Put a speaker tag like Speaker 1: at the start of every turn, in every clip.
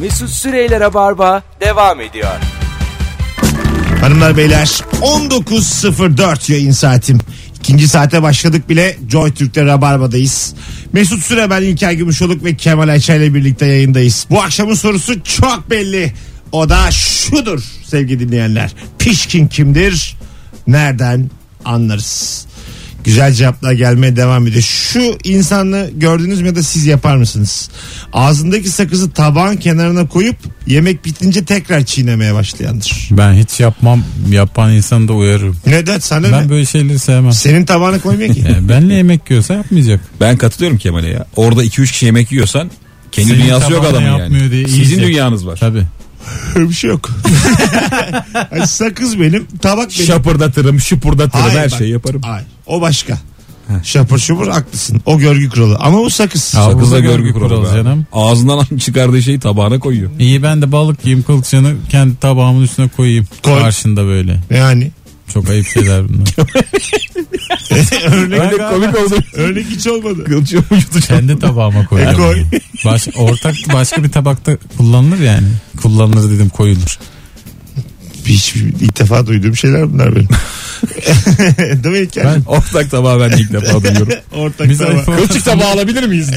Speaker 1: Mesut Süreyler'e barba devam ediyor.
Speaker 2: Hanımlar beyler 19.04 yayın saatim. İkinci saate başladık bile Joy Türk'te Rabarba'dayız. Mesut Süre ben İlker Gümüşoluk ve Kemal Ayça ile birlikte yayındayız. Bu akşamın sorusu çok belli. O da şudur sevgili dinleyenler. Pişkin kimdir? Nereden anlarız? Güzel cevaplar gelmeye devam ediyor. Şu insanı gördünüz mü ya da siz yapar mısınız? Ağzındaki sakızı tabağın kenarına koyup yemek bitince tekrar çiğnemeye başlayandır.
Speaker 3: Ben hiç yapmam. Yapan insanı da uyarırım.
Speaker 2: Neden sana ne?
Speaker 3: Ben böyle şeyleri sevmem.
Speaker 2: Senin tabağına koymuyor ki.
Speaker 3: Yani benle yemek yiyorsa yapmayacak.
Speaker 4: Ben katılıyorum Kemal'e ya. Orada 2-3 kişi yemek yiyorsan kendi
Speaker 3: Senin
Speaker 4: dünyası yok
Speaker 3: tabağına
Speaker 4: adamın
Speaker 3: yapmıyor
Speaker 4: yani.
Speaker 3: diye
Speaker 4: Sizin
Speaker 3: yiyecek.
Speaker 4: dünyanız var.
Speaker 3: Tabii.
Speaker 2: Öyle bir şey yok. Ay, sakız benim, tabak benim.
Speaker 4: Şapırdatırım, şıpırdatırım
Speaker 2: Hayır,
Speaker 4: her
Speaker 2: bak.
Speaker 4: şeyi yaparım.
Speaker 2: Ay, o başka. Şapır şupur haklısın. O görgü kuralı. Ama bu sakız.
Speaker 3: Abi.
Speaker 4: Sakızla
Speaker 3: Burada
Speaker 4: görgü
Speaker 3: görgü
Speaker 4: kuralı
Speaker 3: kuralı
Speaker 4: be.
Speaker 3: canım.
Speaker 4: Ağzından çıkardığı şeyi tabağına koyuyor.
Speaker 3: İyi ben de balık yiyeyim kılçığını kendi tabağımın üstüne koyayım.
Speaker 2: Koy.
Speaker 3: Karşında böyle.
Speaker 2: Yani.
Speaker 3: Çok ayıp şeyler bunlar.
Speaker 2: örnek,
Speaker 4: komik oldu.
Speaker 2: örnek hiç olmadı.
Speaker 4: Kılçıyor
Speaker 3: kendi tabağıma koyuyorum.
Speaker 2: E, koy.
Speaker 3: Baş, ortak başka bir tabakta kullanılır yani. Kullanılır dedim koyulur.
Speaker 2: Hiç, ilk defa duyduğum şeyler bunlar benim. Değil mi İlker?
Speaker 3: Ben-
Speaker 4: Ortak tabağı ben de ilk defa duyuyorum.
Speaker 2: Ortak
Speaker 3: Biz
Speaker 2: tabağı.
Speaker 3: iPhone-
Speaker 4: Kılçık tabağı alabilir miyiz?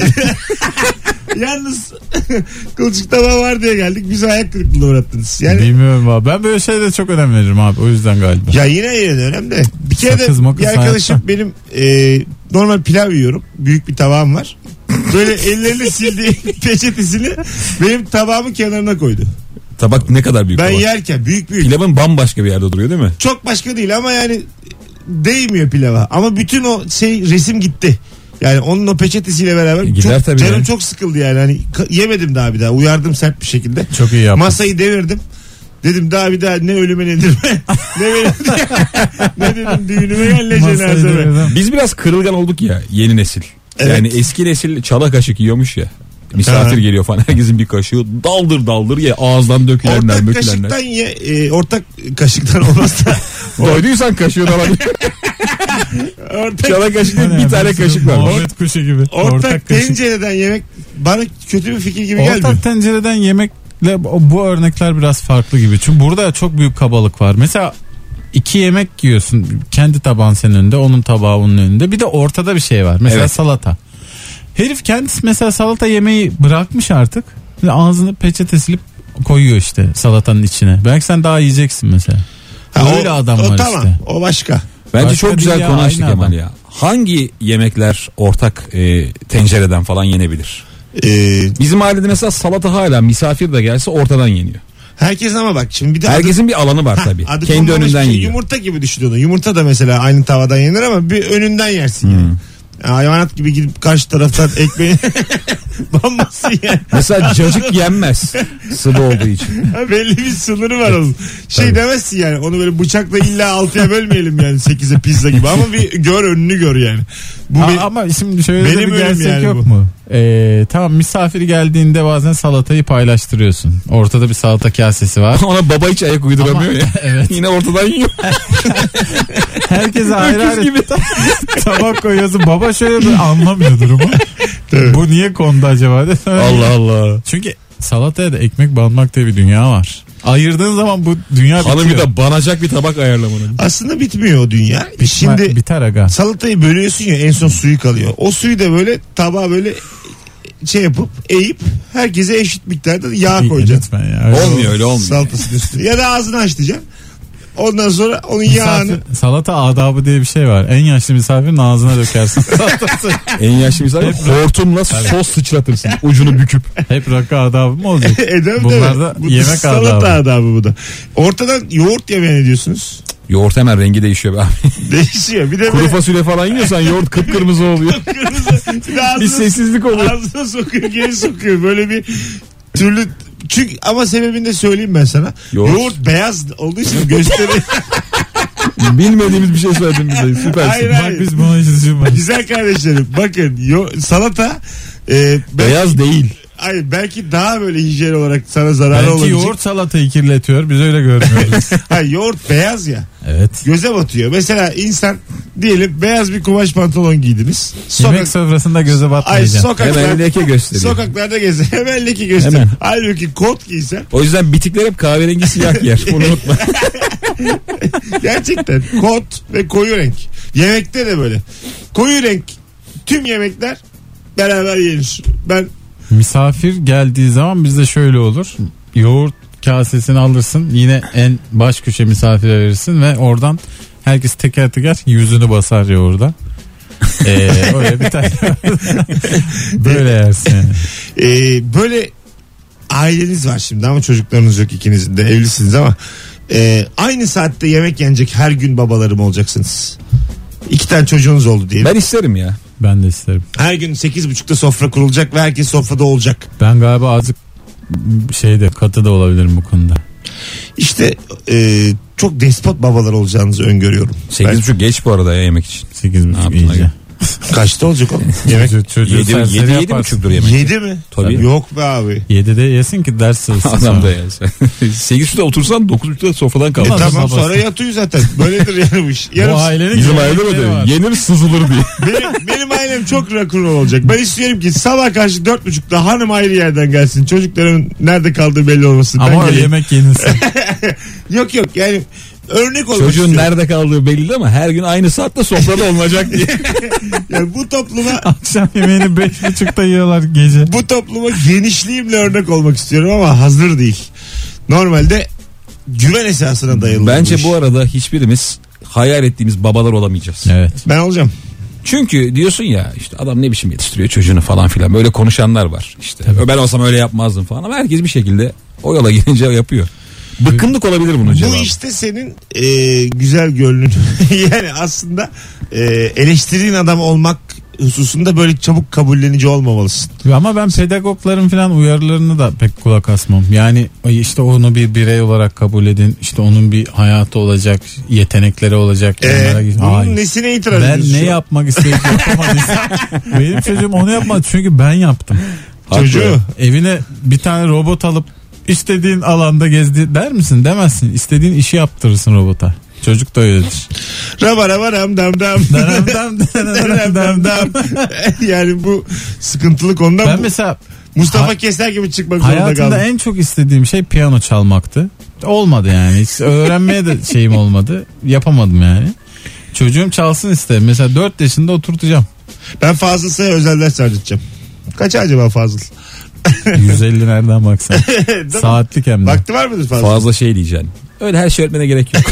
Speaker 2: Yalnız kılçık tabağı var diye geldik. Bizi ayak kırıklığına uğrattınız. Yani
Speaker 3: Bilmiyorum abi. Ben böyle şeylere çok önem veririm abi. O yüzden galiba.
Speaker 2: Ya yine yine de önemli. Bir kere
Speaker 3: Sakız
Speaker 2: de
Speaker 3: makız
Speaker 2: bir arkadaşım benim e, normal pilav yiyorum. Büyük bir tabağım var. Böyle ellerini sildiği peçetesini benim tabağımın kenarına koydu.
Speaker 4: Tabak ne kadar büyük
Speaker 2: Ben
Speaker 4: tabak.
Speaker 2: yerken büyük büyük.
Speaker 4: Pilavın bambaşka bir yerde duruyor değil mi?
Speaker 2: Çok başka değil ama yani değmiyor pilava. Ama bütün o şey resim gitti. Yani onun o peçetesiyle beraber
Speaker 4: E, gider
Speaker 2: çok,
Speaker 4: tabii
Speaker 2: canım
Speaker 4: yani.
Speaker 2: çok sıkıldı yani. Hani ka- yemedim daha bir daha. Uyardım sert bir şekilde.
Speaker 3: Çok iyi yaptın.
Speaker 2: Masayı devirdim. Dedim daha bir daha ne ölüme nedir ne benim ne dedim düğünüme gel ne
Speaker 3: Masayı
Speaker 2: cenazeme.
Speaker 3: devirdim.
Speaker 4: Biz biraz kırılgan olduk ya yeni nesil.
Speaker 2: Evet.
Speaker 4: Yani eski nesil çala kaşık yiyormuş ya. Misafir
Speaker 2: Ha.
Speaker 4: geliyor falan herkesin bir kaşığı daldır daldır ye ağızdan dökülenler
Speaker 2: Ortak
Speaker 4: mökülenler.
Speaker 2: kaşıktan ye, e, ortak kaşıktan olmaz da
Speaker 4: Doyduysan kaşığını alabilir.
Speaker 2: ortak,
Speaker 4: çala kaşık
Speaker 3: Yani
Speaker 4: değil, bir tane
Speaker 3: bizim
Speaker 4: kaşık var.
Speaker 3: Muhabbet kuşu gibi.
Speaker 2: ortak,
Speaker 3: kaşık.
Speaker 2: tencereden yemek bana kötü bir fikir gibi gelmiyor.
Speaker 3: Ortak tencereden yemekle bu örnekler biraz farklı gibi. Çünkü burada çok büyük kabalık var. Mesela iki yemek yiyorsun. Kendi tabağın senin önünde, onun tabağı onun önünde. Bir de ortada bir şey var. Mesela
Speaker 4: Evet.
Speaker 3: salata. Herif kendisi mesela salata yemeği bırakmış artık. Ve ağzını peçete silip koyuyor işte salatanın içine. Belki sen daha yiyeceksin mesela.
Speaker 2: Ha,
Speaker 3: Öyle adam var
Speaker 2: tamam,
Speaker 3: işte.
Speaker 2: O başka.
Speaker 4: Bence
Speaker 3: Başka
Speaker 4: çok güzel
Speaker 3: dünya,
Speaker 4: konu açtık
Speaker 3: aynı
Speaker 4: Kemal
Speaker 3: adam.
Speaker 4: ya. Hangi yemekler ortak e, tencereden falan yenebilir?
Speaker 2: Ee,
Speaker 4: Bizim ailede mesela salata hala misafir de gelse ortadan yeniyor.
Speaker 2: herkes ama bak şimdi bir de
Speaker 4: Herkesin bir alanı var
Speaker 2: Ha,
Speaker 4: tabii.
Speaker 2: adı
Speaker 4: Kendi
Speaker 2: konmamış
Speaker 4: önünden
Speaker 2: bir şey.
Speaker 4: yiyor.
Speaker 2: Yumurta gibi düşünüyorsun. Yumurta da mesela aynı tavadan yenir ama bir önünden yersin
Speaker 4: Hmm.
Speaker 2: yani. Hayvanat gibi gidip karşı taraftan ekmeği bambasın yani.
Speaker 4: Mesela cacık yenmez sıvı olduğu için.
Speaker 2: Ha, Belli bir sınırı var onun. Şey demezsin yani onu böyle bıçakla illa altıya bölmeyelim yani sekize pizza gibi ama bir gör önünü gör yani. Bu
Speaker 3: Aa,
Speaker 2: bir-
Speaker 3: ama şimdi şöyle
Speaker 2: benim
Speaker 3: de bir
Speaker 2: ölüm
Speaker 3: gerçek
Speaker 2: yani
Speaker 3: yok
Speaker 2: bu.
Speaker 3: mu? Ee, tamam misafir geldiğinde bazen salatayı paylaştırıyorsun. Ortada bir salata kasesi var.
Speaker 4: Ona baba hiç ayak uyduramıyor ya.
Speaker 3: evet.
Speaker 4: Yine ortadan yiyor.
Speaker 3: Herkese ayrı
Speaker 4: Öküz
Speaker 3: ayrı
Speaker 4: gibi.
Speaker 3: tabak koyuyorsun. Baba şöyle bir anlamıyor durumu.
Speaker 2: Tabii.
Speaker 3: Bu niye kondu acaba? diye.
Speaker 4: Allah Allah.
Speaker 3: Çünkü salataya da ekmek banmak diye bir dünya var. Ayırdığın zaman bu dünya
Speaker 4: Hanım bir
Speaker 3: bitiyor.
Speaker 4: de banacak bir tabak ayarlamanın.
Speaker 2: aslında bitmiyor o dünya.
Speaker 3: Ma-
Speaker 2: Şimdi
Speaker 3: biter aga.
Speaker 2: salatayı bölüyorsun ya en son suyu kalıyor. O suyu da böyle tabağa böyle şey yapıp eğip herkese eşit miktarda yağ
Speaker 3: İyi,
Speaker 2: koyacaksın.
Speaker 3: Lütfen ya. Öyle
Speaker 4: Olmuyor öyle olmuyor.
Speaker 2: Salatasının üstüne. Ya da ağzını açlayacaksın. Ondan sonra onun
Speaker 3: Misafir-
Speaker 2: yağını
Speaker 3: salata adabı diye bir şey var. En yaşlı misafirin ağzına dökersin.
Speaker 4: En yaşlı misafir hortumla sos sıçratırsın ucunu büküp.
Speaker 3: Hep rakı adabı mı olacak?
Speaker 2: edem
Speaker 3: Bunlar
Speaker 2: de-
Speaker 3: da
Speaker 2: bu
Speaker 3: yemek
Speaker 2: salata
Speaker 3: adabı.
Speaker 2: bu da. Ortadan yoğurt yemeye ne diyorsunuz?
Speaker 4: Yoğurt hemen rengi değişiyor be abi.
Speaker 2: Değişiyor. Bir de
Speaker 4: Kuru
Speaker 2: böyle
Speaker 4: fasulye falan yiyorsan yoğurt kıpkırmızı oluyor.
Speaker 2: kırmızı bir de
Speaker 4: Bir
Speaker 2: ağzına,
Speaker 4: sessizlik oluyor.
Speaker 2: ağzına sokuyor geri sokuyor. Böyle bir türlü çünkü ama sebebini de söyleyeyim ben sana. Yoğurt,
Speaker 4: Yoğurt.
Speaker 2: beyaz olduğu için gösteriyor.
Speaker 4: Bilmediğimiz bir şey söyledin bize.
Speaker 2: Hayır,
Speaker 4: Süpersin.
Speaker 3: Bak
Speaker 2: hayır.
Speaker 3: biz bunu hiç düşünmedik.
Speaker 2: Güzel kardeşlerim bakın yo, salata e, ben-
Speaker 4: Beyaz değil.
Speaker 2: Ay belki daha böyle hijyen olarak sana zararlı
Speaker 3: Belki
Speaker 2: olabilecek.
Speaker 3: yoğurt salatayı kirletiyor. Biz öyle görmüyoruz.
Speaker 2: Ay yoğurt beyaz ya.
Speaker 3: evet.
Speaker 2: Göze batıyor. Mesela insan diyelim beyaz bir kumaş pantolon giydiniz. Sokak,
Speaker 3: Yemek sofrasında göze
Speaker 2: ay
Speaker 3: batmayacaksın.
Speaker 4: Hemen
Speaker 2: sokaklar,
Speaker 4: leke gösteriyor.
Speaker 2: sokaklarda geze. Hemen leki göster.
Speaker 4: Hemen.
Speaker 2: Halbuki kot giysen
Speaker 4: O yüzden bitikler hep kahverengi siyah yer. Bunu unutma.
Speaker 2: gerçekten kot ve koyu renk. Yemekte de böyle. Koyu renk tüm yemekler beraber yenir. Ben
Speaker 3: Misafir geldiği zaman bizde şöyle olur. Yoğurt kasesini alırsın. Yine en baş köşe misafire verirsin ve oradan herkes teker teker yüzünü basar yoğurda. Ee, öyle bir tane böyle yersin. yani.
Speaker 2: Ee, böyle aileniz var şimdi ama çocuklarınız yok ikinizin de evlisiniz ama e, aynı saatte yemek yenecek her gün babalarım olacaksınız. İki tane çocuğunuz oldu diyelim.
Speaker 4: Ben isterim ya.
Speaker 3: Ben de isterim.
Speaker 2: Her gün 8.30'da sofra kurulacak ve herkes sofrada olacak.
Speaker 3: Ben galiba azıcık şeyde katı da olabilirim bu konuda.
Speaker 2: İşte e, çok despot babalar olacağınızı öngörüyorum. Ben-
Speaker 4: 8.30 geç bu arada ya yemek için.
Speaker 3: 8
Speaker 4: Ne yaptın
Speaker 3: iyice.
Speaker 4: aga?
Speaker 2: kaçta olacak oğlum? yemek
Speaker 3: Çocuğu- çocuğu
Speaker 4: 7
Speaker 3: serseri
Speaker 4: 7 7
Speaker 3: yaparsın.
Speaker 4: buçuktur yemek.
Speaker 2: 7 mi?
Speaker 4: Tabii.
Speaker 2: Yok be abi.
Speaker 3: 7'de yesin ki ders çalışsın.
Speaker 4: Adam
Speaker 3: sonra.
Speaker 4: da ya. 8.30'da otursan 9.30'da sofradan
Speaker 2: E,
Speaker 4: kalkarsın.
Speaker 3: Ulan
Speaker 2: tamam
Speaker 3: babası.
Speaker 2: sonra yatıyor zaten. Böyledir yani bu iş. Yarın-
Speaker 3: Bu ailenin
Speaker 4: Bizim
Speaker 3: gelenekleri
Speaker 4: ailede mi
Speaker 3: var.
Speaker 4: dedi? Yenir sızılır diye.
Speaker 2: benim, benim ailem çok rock'n'roll olacak. Ben istiyorum ki sabah karşı dört buçukta hanım ayrı yerden gelsin. Çocukların nerede kaldığı belli olmasın. Ben
Speaker 3: Ama o
Speaker 2: geleyim.
Speaker 3: yemek yenilsin.
Speaker 2: Yok yok yani örnek olmak
Speaker 4: Çocuğun
Speaker 2: istiyorum.
Speaker 4: nerede kaldığı belli değil ama her gün aynı saatte sofrada olmayacak diye.
Speaker 2: Yani bu topluma
Speaker 3: Akşam yemeğini beş buçukta yiyorlar gece.
Speaker 2: bu topluma genişliğimle örnek olmak istiyorum ama hazır değil. Normalde güven esasına dayalı.
Speaker 4: Bence
Speaker 2: iş.
Speaker 4: bu arada hiçbirimiz hayal ettiğimiz babalar olamayacağız.
Speaker 3: Evet.
Speaker 2: ben olacağım.
Speaker 4: Çünkü diyorsun ya işte adam ne biçim yetiştiriyor çocuğunu falan filan böyle konuşanlar var. İşte ben olsam öyle yapmazdım falan ama herkes bir şekilde o yola girince yapıyor. Bıkkınlık olabilir bunun cevabı.
Speaker 2: Bu işte senin e, güzel gönlün. yani aslında e, eleştirdiğin adam olmak hususunda böyle çabuk kabullenici olmamalısın.
Speaker 3: Ama ben pedagogların falan uyarılarını da pek kulak asmam. Yani ay işte onu bir birey olarak kabul edin. İşte onun bir hayatı olacak, yetenekleri olacak.
Speaker 2: Ee,
Speaker 3: onlara git-
Speaker 2: bunun
Speaker 3: Hayır.
Speaker 2: nesine itiraz
Speaker 3: ben
Speaker 2: ediyorsun?
Speaker 3: ne
Speaker 2: şu an?
Speaker 3: yapmak isteyip yapamadıysam benim çocuğum onu yapmadı çünkü ben yaptım.
Speaker 4: Haklı.
Speaker 2: Çocuğu.
Speaker 3: Evine bir tane robot alıp istediğin alanda gezdi der misin? Demezsin. İstediğin işi yaptırırsın robota. Çocuk da öyledir.
Speaker 2: Raba raba ram dam dam.
Speaker 3: Dam dam dam
Speaker 2: Ram
Speaker 3: dam
Speaker 2: dam
Speaker 3: dam.
Speaker 2: dam. yani bu sıkıntılı konudan
Speaker 3: Ben
Speaker 2: bu-
Speaker 3: mesela
Speaker 2: Mustafa Keser gibi çıkmak zorunda kaldım.
Speaker 3: Hayatımda en çok istediğim şey piyano çalmaktı. Olmadı yani. Hiç öğrenmeye de şeyim olmadı. Yapamadım yani. Çocuğum çalsın isterim. Mesela 4 yaşında oturtacağım.
Speaker 2: Ben Fazıl'sa özel ders harcayacağım. Kaç acaba Fazıl?
Speaker 3: 150 nereden baksan.
Speaker 2: Değil mi?
Speaker 3: Saatlik hem de.
Speaker 2: Vakti var mıdır Fazıl?
Speaker 4: Fazla şey diyeceksin. Öyle her şey öğretmene gerek yok.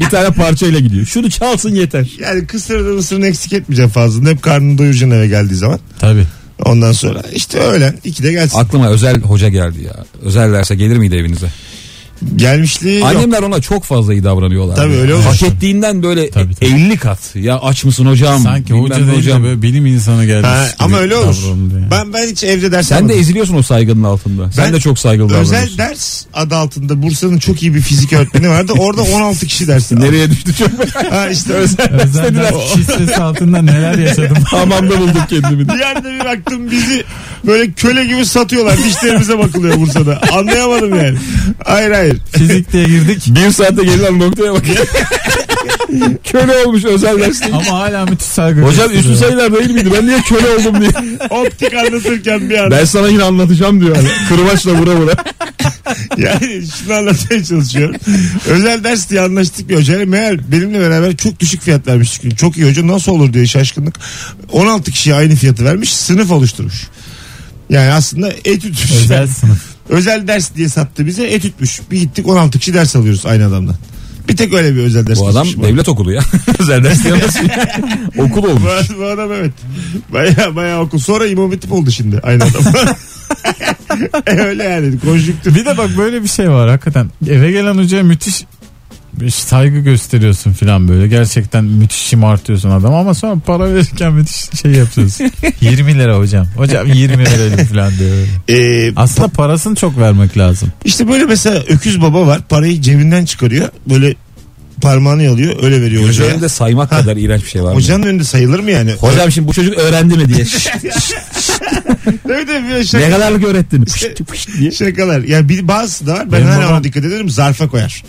Speaker 4: bir tane parçayla gidiyor. Şunu çalsın yeter.
Speaker 2: Yani kısırını mısırını eksik etmeyeceğim Fazıl'ın. Hep karnını doyuracaksın eve geldiği zaman.
Speaker 3: Tabii.
Speaker 2: Ondan sonra işte öğlen 2'de gelsin.
Speaker 4: Aklıma özel hoca geldi ya. Özel derse gelir miydi evinize?
Speaker 2: Gelmişliği yok.
Speaker 4: Annemler ona çok fazla iyi davranıyorlar.
Speaker 2: Tabii
Speaker 4: Ya.
Speaker 2: öyle olur.
Speaker 4: Hak ettiğinden böyle
Speaker 3: Tabii, tabii.
Speaker 4: 50 kat. Ya aç mısın hocam?
Speaker 3: Sanki
Speaker 4: Bilmem
Speaker 3: hoca
Speaker 4: ne
Speaker 3: değil de böyle bilim insanı gelmiş.
Speaker 2: Ha,
Speaker 3: gibi
Speaker 2: ama öyle olur.
Speaker 3: davranıldı yani.
Speaker 2: Ben ben hiç evde ders
Speaker 4: Sen de
Speaker 2: almadım.
Speaker 4: eziliyorsun o saygının altında. Sen
Speaker 2: Ben
Speaker 4: de çok saygılı davranıyorsun.
Speaker 2: Özel ders adı altında Bursa'nın çok iyi bir fizik öğretmeni vardı. Orada 16 kişi ders aldı.
Speaker 4: Nereye düştü çok
Speaker 2: Ha işte özel.
Speaker 3: Özel ders şifresi altında neler yaşadım.
Speaker 4: Hamamda bulduk kendimi.
Speaker 2: Bir yerde bir baktım bizi böyle köle gibi satıyorlar. Dişlerimize bakılıyor Bursa'da. Anlayamadım yani. Hayır hayır.
Speaker 3: Fizik diye girdik.
Speaker 4: Bir saate gelen noktaya bak. köle olmuş özel derste.
Speaker 3: Ama hala müthiş saygı.
Speaker 4: Hocam
Speaker 3: gösteriyor.
Speaker 4: üstü sayılar değil miydi? Ben niye köle oldum diye.
Speaker 2: Optik anlatırken bir anda.
Speaker 4: Ben sana yine anlatacağım diyor. Hani. Kırbaçla vura vura.
Speaker 2: Yani şunu anlatmaya çalışıyorum. Özel ders diye anlaştık bir hocayla. Meğer benimle beraber çok düşük fiyat vermiş. çünkü. Çok iyi hoca nasıl olur diye şaşkınlık. 16 kişiye aynı fiyatı vermiş. Sınıf oluşturmuş. Yani aslında etüt.
Speaker 3: Özel sınıf.
Speaker 2: Özel ders diye sattı bize etütmüş. Bir gittik 16 kişi ders alıyoruz aynı adamdan. Bir tek öyle bir özel ders.
Speaker 4: Bu adam
Speaker 2: tutmuş bana.
Speaker 4: devlet okulu ya. özel ders yapmasın. Okul
Speaker 2: Bu,
Speaker 4: olmuş.
Speaker 2: ad- bu adam evet. Baya baya okul. Sonra imam hatip oldu şimdi aynı adam. E, öyle yani konjüktür.
Speaker 3: Bir de bak böyle bir şey var hakikaten. Eve gelen hocaya müthiş bir saygı gösteriyorsun filan böyle. Gerçekten müthiş şımartıyorsun adam ama sonra para verirken müthiş şey yapıyorsun. 20 lira hocam. Hocam 20 verelim filan diyor. öyle.
Speaker 2: Ee,
Speaker 3: Aslında parasını çok vermek lazım.
Speaker 2: işte böyle mesela öküz baba var. Parayı cebinden çıkarıyor. Böyle parmağını yalıyor öyle veriyor
Speaker 4: Göz
Speaker 2: hocaya.
Speaker 4: önünde saymak kadar iğrenç bir şey var. mı?
Speaker 2: Hocanın önünde sayılır mı yani?
Speaker 4: Hocam şimdi bu çocuk öğrendi mi diye. Şşt,
Speaker 2: Öyle de bir şaka,
Speaker 4: ne kadarlık öğrettin? Pışt, pışt diye.
Speaker 2: şakalar. Ya bir bazısı da var. Ben
Speaker 3: Benim
Speaker 2: her
Speaker 3: babam-
Speaker 2: ona dikkat ederim zarfa koyar.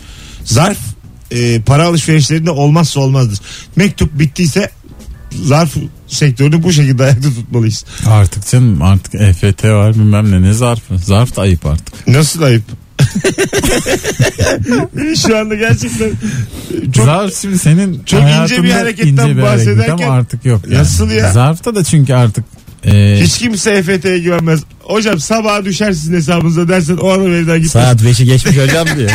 Speaker 2: Zarf e, para alışverişlerinde olmazsa olmazdır. Mektup bittiyse zarf sektörünü bu şekilde ayakta tutmalıyız.
Speaker 3: Artık canım artık EFT var bilmem ne ne zarfı. Zarf da ayıp artık.
Speaker 2: Nasıl ayıp? Şu anda gerçekten çok
Speaker 3: zarf şimdi senin
Speaker 2: çok ince bir
Speaker 3: hayatında
Speaker 2: hareketten
Speaker 3: ince bir hareket
Speaker 2: bahsederken-
Speaker 3: ama artık yok. Yani.
Speaker 2: Nasıl ya?
Speaker 3: Zarfta da çünkü artık e,
Speaker 2: hiç kimse EFT'ye güvenmez. Hocam sabaha düşer sizin hesabınıza dersen o an o evden gitmez.
Speaker 4: Saat 5'i geçmiş hocam diye.